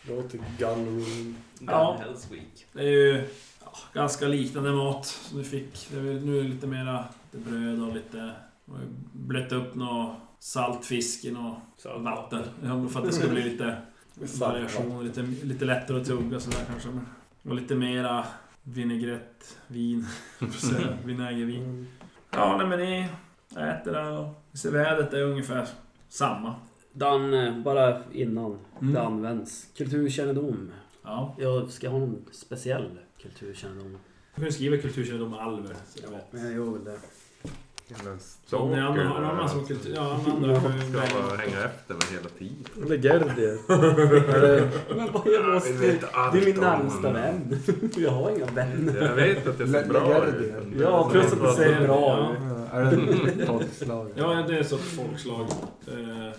Går till gunroom.
Ja.
Hell's Week.
Det är ju ja, ganska liknande mat som du fick. Det är väl, nu är det lite mera lite bröd och lite... de har ju Blött upp något saltfisk i något vatten. Ja, För att det ska bli lite variation, lite, lite lättare att tugga sådär kanske. Men- Och lite mera vinägrett, vin. Så, Vinägervin.
Mm.
Ja, nej men ni äter där och vi ser vädret är ungefär samma.
Dan, eh, bara innan
Mm.
det används. Kulturkännedom.
Ja.
Jag ska ha någon speciell kulturkännedom.
Du kan skriva kulturkännedom med Alver. så jag vet.
Men jag gör väl det.
Så om ni andra har någon annan som kultur... Ja, en andra har ju...
eh, Ska bara hänga efter mig hela tiden.
Eller Gerdier. Eller-
Men vad jag
Jag vet allt
Det är min
om
närmsta
honom.
vän. Jag har inga vänner.
Jag vet att det
Le-
ser bra ut.
Legardier.
men-
Ja, plus att det ser bra ut.
Ja, Är det ett folkslag?
Ja, det är så folkslag. Eh,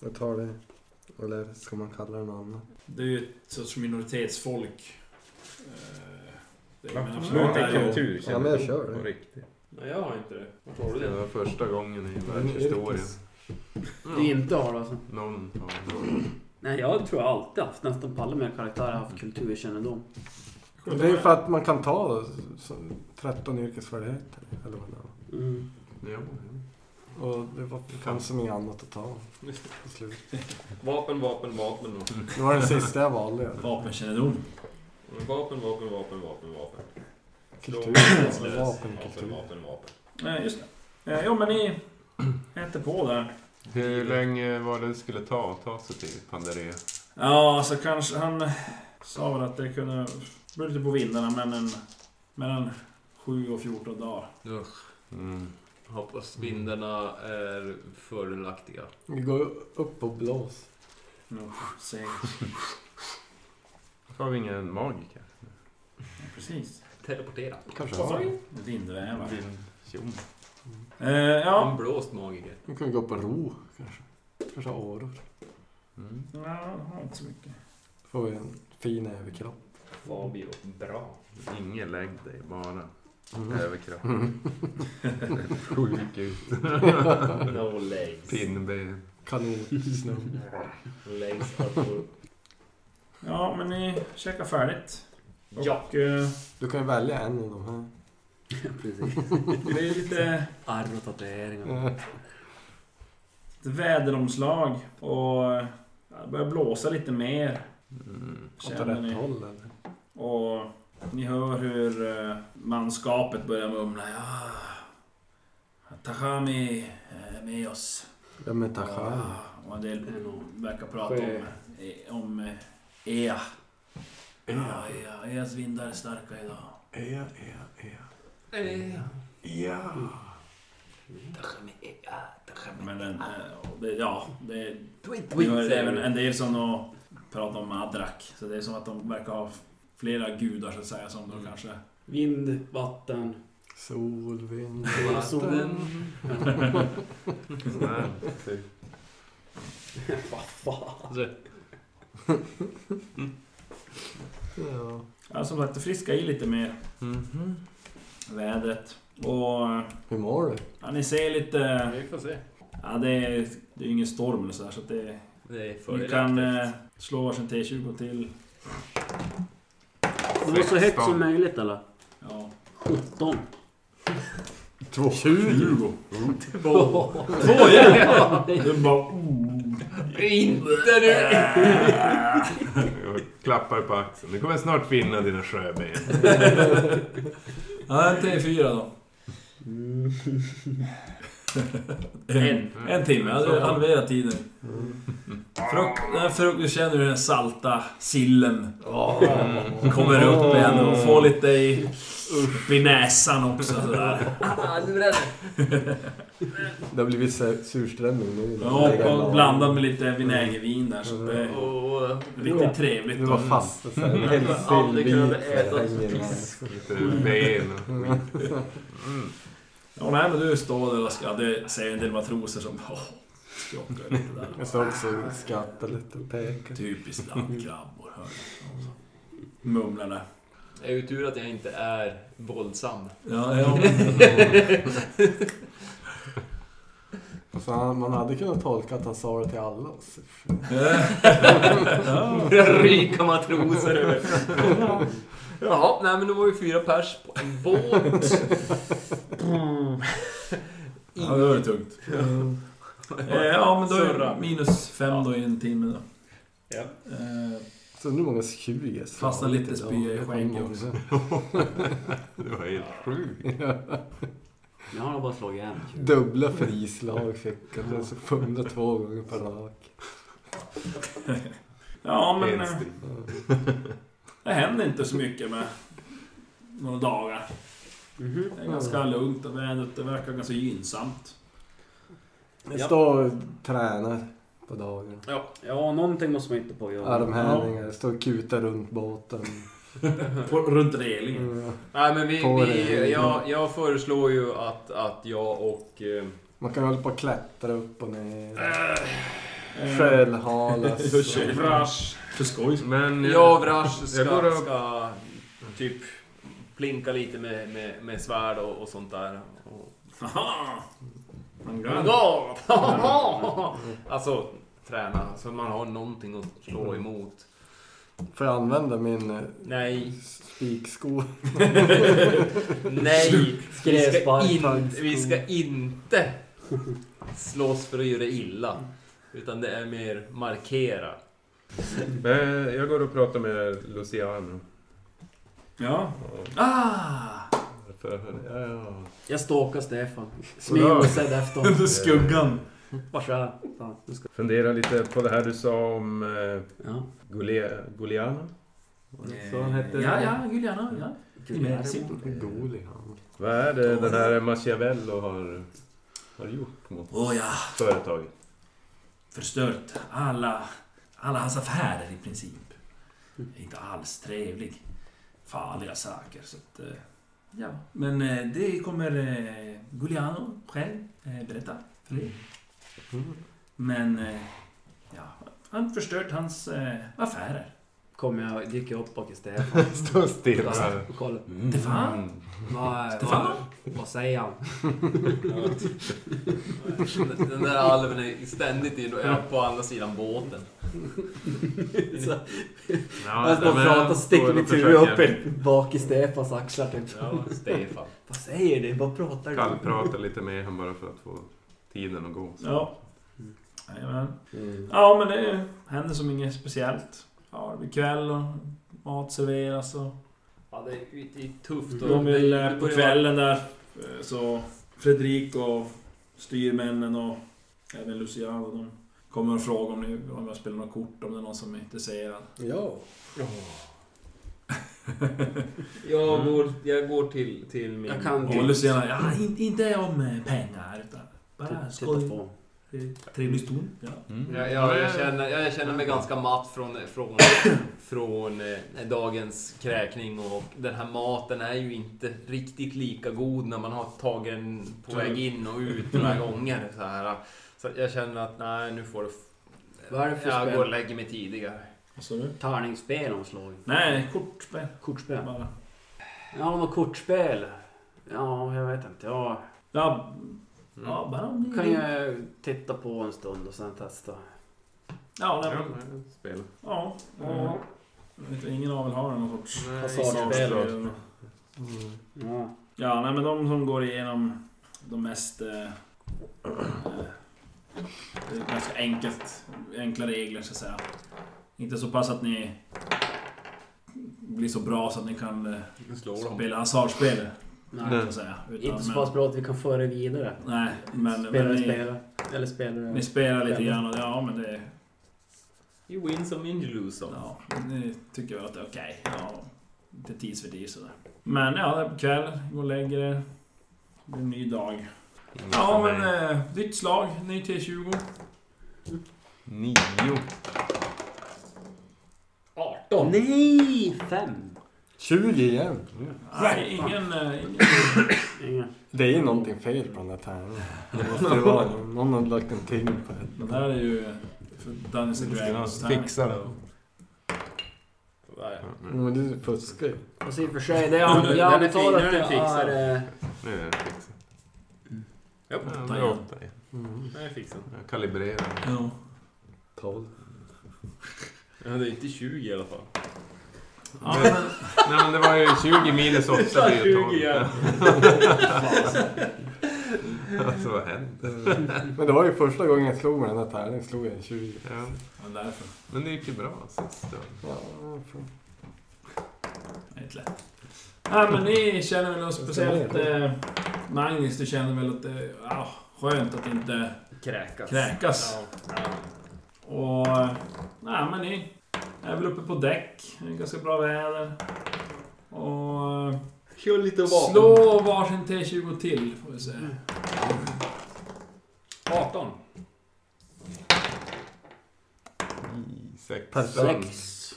Jag tar det. Eller ska man kalla det något annat?
Det är ju ett sorts minoritetsfolk. Eh, Det är,
Ja,
men
det
absolut, det
är
är ju...
kultur,
Ja, men jag kör det.
På riktigt.
Nej, jag har inte det. Vart har du
Det
det?
var första gången i världshistorien.
Du inte har alltså.
Någon har
Nej, jag tror jag alltid haft nästan på alla mina karaktärer haft kulturkännedom.
Men Det är ju för att man kan ta så, 13 yrkesfärdigheter. Eller vad det är.
Mm.
Jo.
Och det var, det fanns som inget annat att ta. Till slut.
Vapen, vapen, vapen. och-
Det var den sista jag valde. ja.
Vapenkännedom.
Vapen, vapen, vapen, vapen, vapen.
Kultur.
Vapen,
Vapenkultur.
vapen, vapen.
Nej, just det. Eh, jo, men ni äter på där.
Hur länge var det det skulle ta att ta sig till Pandare?
Ja, så kanske han sa väl att det kunde... Beror lite på vindarna, men en, mellan 7 och 14 dagar.
Mm.
Hoppas vindarna är fördelaktiga.
Vi går upp och blås.
Usch, segt.
Har vi ingen magiker?
Ja, Precis.
Teleportera.
Kanske har.
Vindvävare.
Tjom.
Eh, ja.
En blåst magiker.
Nu kan vi gå på ro kanske. Kanske ha åror.
Mm.
Ja, jag har inte så mycket.
Får vi en fin överkropp.
Fabio. Bra.
Ingen lägg dig, bara
Mm.
överkropp. Sjuk ut.
No legs.
Pinnben.
Kanonsnö.
Legs are for...
Ja, men ni käkar färdigt.
Ja.
Och, eh,
Du kan ju välja en av de här.
Precis.
det är lite...
Arr och tatueringar.
Eh,
ett väderomslag och eh, det börjar blåsa lite mer.
Mm.
Åt
Känner
rätt
ni.
håll eller?
Och ni hör hur eh, manskapet börjar mumla. Ja, Tachami är med oss.
Vem är Tasha?
Ja, Och en del verkar prata
Sjö.
om, eh, om eh, Ea. Ja, Ea. Eas vindar är starka idag.
Ja, ja, ja.
Eh,
Ja.
Men den, eh, och det, ja, det,
Tweet,
det var
tweet,
även en del som då pratar om Adrak. Så det är som att de verkar ha flera gudar så att säga som då kanske
Vind, vatten.
Sol, vind,
Solen.
Sådär, typ.
Vad fan.
Alltså,
Ja.
Ja, som sagt, det friskar i lite mer
Mhm.
vädret. Och
Hur mår du?
ja, ni ser lite...
Vi får se.
Ja, det är, det är ingen storm eller så, här, så att det,
Det är
Ni kan eh,
fördelaktigt.
slå varsin T20 till.
Det var så högt som möjligt eller?
Ja.
17.
20!
Två.
Två igen! Du bara... Oh.
Inte nu!
Eh,
Jag klappar på axeln. Du kommer snart finna dina sjöben.
Ja, en T4 då. En, en timme. Jag hade halverat tiden. Fruk, den här fruk, du känner hur den salta sillen
Mm.
kommer upp igen och får lite i, upp i näsan också. Sådär.
Ah, nu är
Det har blivit sur- surströmming nu.
Ja, och blandad med lite vinägervin där så det är eh, riktigt trevligt.
Du var fast. och så här, En hel
Jag har aldrig
sillbit
kunnat äta
hänger med.
Lite ben och skit.
Ja, nej, men du står där och ska, det säger en del matroser som åh, skrockar lite där.
Jag sa också skratta lite och peka.
Typiskt landkrabbor, hör du. Mumlar där.
Det är ju tur att jag inte är våldsam.
Ja, ja.
Fast han- man hade kunnat tolka att han sa det till alla. oss.
Ryka matroser över. Jaha, nej men det var ju fyra pers på en båt.
ja, det var det tungt. Eh, Ja, men då är det minus fem då i en timme då.
Ja.
Eh,
Så nu många 20 slag.
Fastnar lite spya i skägget också.
Det var helt sjukt.
Jag har bara slagit en.
Dubbla frislag fick han. Alltså 102 gånger per lag.
Ja, men eh,
Helt stilt.
det händer inte så mycket med några dagar.
Mhm.
Det är ganska lugnt och vädret det verkar ganska gynnsamt.
Jag
Ja.
står och tränar på dagen.
Ja, någonting måste man inte på att göra.
Armhävningar, står och kutar runt båten.
På, runt relingen.
Mm.
Nej men vi,
På det.
vi jag, jag föreslår ju att, att jag och... eh,
Man kan hålla på och klättra upp och ner.
Eh,
Skölhalas.
Jag kör. För skojs
Men eh,
Jag och Vrash
jag går
ska,
och-
ska typ plinka lite med, med, med svärd och, och sånt där. Och,
Aha! Man
Ja! alltså, träna så man har någonting att slå emot.
Får jag använda min eh,
Nej,
spiksko?
nej. Vi ska,
Skrädspark,
in,
taggskor.
vi ska inte slåss för att göra illa. Utan det är mer markera.
Men eh, jag går och pratar med Luciano.
Ja.
Och
Ah!
för, eh, ja, ja.
Jag stalkar Stefan. Smyger och sedd efter honom.
Under skuggan.
Varsågod. Fan, nu ska-
Fundera lite på det här du sa om eh,
Ja.
Gole, Goleano. Så han hette?
Ja, ja, Juliana. Ja. Gemensamt.
Golig han.
Eh, Vad är det den här Machiavello har, har gjort mot
Åh ja,
företaget?
förstört alla, alla hans affärer i princip. Inte alls trevlig. Farliga saker. Så att, eh, ja. Men eh, det kommer eh, Giuliano själv eh, berätta för er. Men eh, ja, han förstört hans eh, affärer.
Kommer jag dyka upp bak i Stefan.
Stå still.
Fast på kollen.
Stefan?
Vad, vad,
Stefan?
vad säger han?
Den där alven är ständigt in och är på andra sidan båten.
Ja,
Jag står och
men jag
pratar, sticker
står
mitt
och
huvud upp
försöker
i- bak i Stefans axlar typ.
Ja, Stefan.
Vad säger du? Vad pratar du om?
Kallprata lite med honom bara för att få tiden att gå.
Ja. Jajamän.
Mm.
Ja, men det händer som inget speciellt. Ja, det blir kväll och mat serveras och...
Ja, det är, det är tufft.
De vill eh, på
börjar-
kvällen där eh, så Fredrik och styrmännen och även Luciano de kommer och frågar om, ni, om jag spelar något kort, om det är någon som är intresserad.
Ja.
Jag
Mm.
går, jag går till, till min...
Jag kan
Och Luciano, ja in, inte om eh, pengar utan bara
Titta på
skoj.
honom.
Eh, Trevlig stund. Ja.
Mm.
Ja, ja, jag, känner, ja, jag känner mig ganska matt från, från, från eh, dagens kräkning och den här maten är ju inte riktigt lika god när man har tagit den på väg in och ut några
Mm.
gånger. Så, här. så jag känner att nej, nu får du... f-
Vad är det för
jag
spel?
går och lägger mig tidigare.
Vad sa du?
Tärningsspel har slagit.
Nej, kortspel
Kortspel?
bara.
Ja, något kortspel. Ja, jag vet inte. Jag
Ja, Mm. ja bara om ni
Mm. kan ju titta på en stund och sen testa.
Ja, nej,
Ja, men spela.
Ja.
Ja.
Jag vet, ingen av er har någon sorts...
Hasardspel.
Eller-
Ja.
Ja, nej men de som går igenom de mest... Eh, eh, det är ganska enkelt. Enkla regler så att säga. Inte så pass att ni blir så bra så att ni kan eh, spela hasardspel.
Nej.
kan jag säga. Utan,
Inte så pass bra att vi kan föra det vidare.
Men, nej, men, men
Spelare,
ni,
spelare. Eller spelare.
ni spelar lite
Själva.
grann och ja men det...
You win some and you lose some.
Ja, ni tycker väl att det är okej. Ja, lite tidsfördriv sådär. Men ja, det är på kvällen. Gå och lägger er. Det blir en ny dag. Ja, men eh, nytt slag. Ny T20.
Nio.
18!
Nej! Fem!
20 igen.
Nej, ingen... eh, ingen.
Inga.
Det är ju någonting fel på den där tärningen. Det måste det vara. Någon har lagt en tyngd på det.
Den här är ju... eh, För Dungeons and Dragons.
det.
Där.
Men du fuskar ju.
Fast i och för sig, det är, jag
Den är
antar att
finare än
det
fixad.
är... eh,
Nu är det fixat.
Ja,
Ja,
åtta
det är
igen.
åtta igen.
Mm.
Nej, fixa.
Jag kalibrerar.
Ja.
12.
Ja, det är inte 20 i alla fall.
Ja, men,
Nej men det var ju 20 minus 8 blir ju 12.
20 igen.
Alltså vad händer?
Men det var ju första gången jag slog med den där tärningen. Slog jag en 20.
Ja.
ja, därför.
Men det gick ju bra sist då.
Ja, fan.
Det är inte lätt. Nej, men ni känner väl något speciellt... Eh, Magnus, du känner väl att det... Ja, skönt att inte
Kräkas.
kräkas.
Ja.
Och... eh, Nej, men ni är väl uppe på däck. Det är ganska bra väder. Och... eh,
Kör lite vapen.
Slå varsin T20 till, får vi se.
Mm. 18.
I sex.
Sex.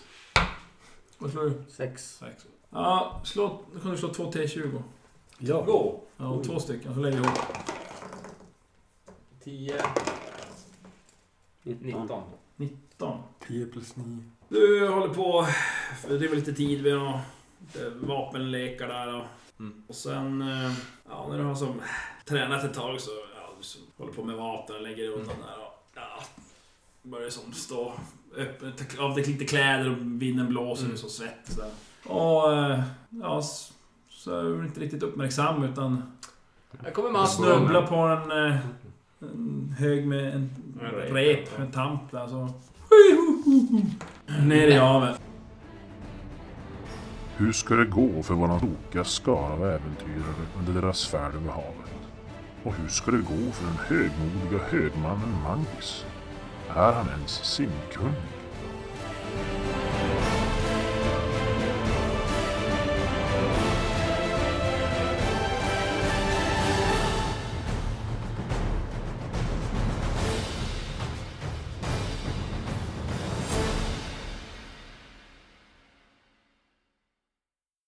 Vad slår du?
Sex.
Sex. Ja, slå... Nu kan du slå två T20.
Ja.
Gå.
Ja, och två stycken. Så lägger jag ihop.
10. 19.
19.
10 plus 9.
Du håller på, det är väl lite tid, vi har lite vapenlekar där och,
Mm.
och sen, eh, ja när du har som tränat ett tag så, ja, du som håller på med vapen och lägger undan där och, ja, Börjar som stå öppet, av det lite kläder och vinden blåser och det är så svett. Så. Och eh, ja, s- så är jag väl inte riktigt uppmärksam utan
Här kommer Mats nu.
snubblar på en, eh, en hög med en
En rep.
rep, en tamp där så... Ner i havet.
Hur ska det gå för våran tokiga skara av äventyrare under deras färd över havet? Och hur ska det gå för den högmodiga högmannen Magnus? Är han ens simkunnig?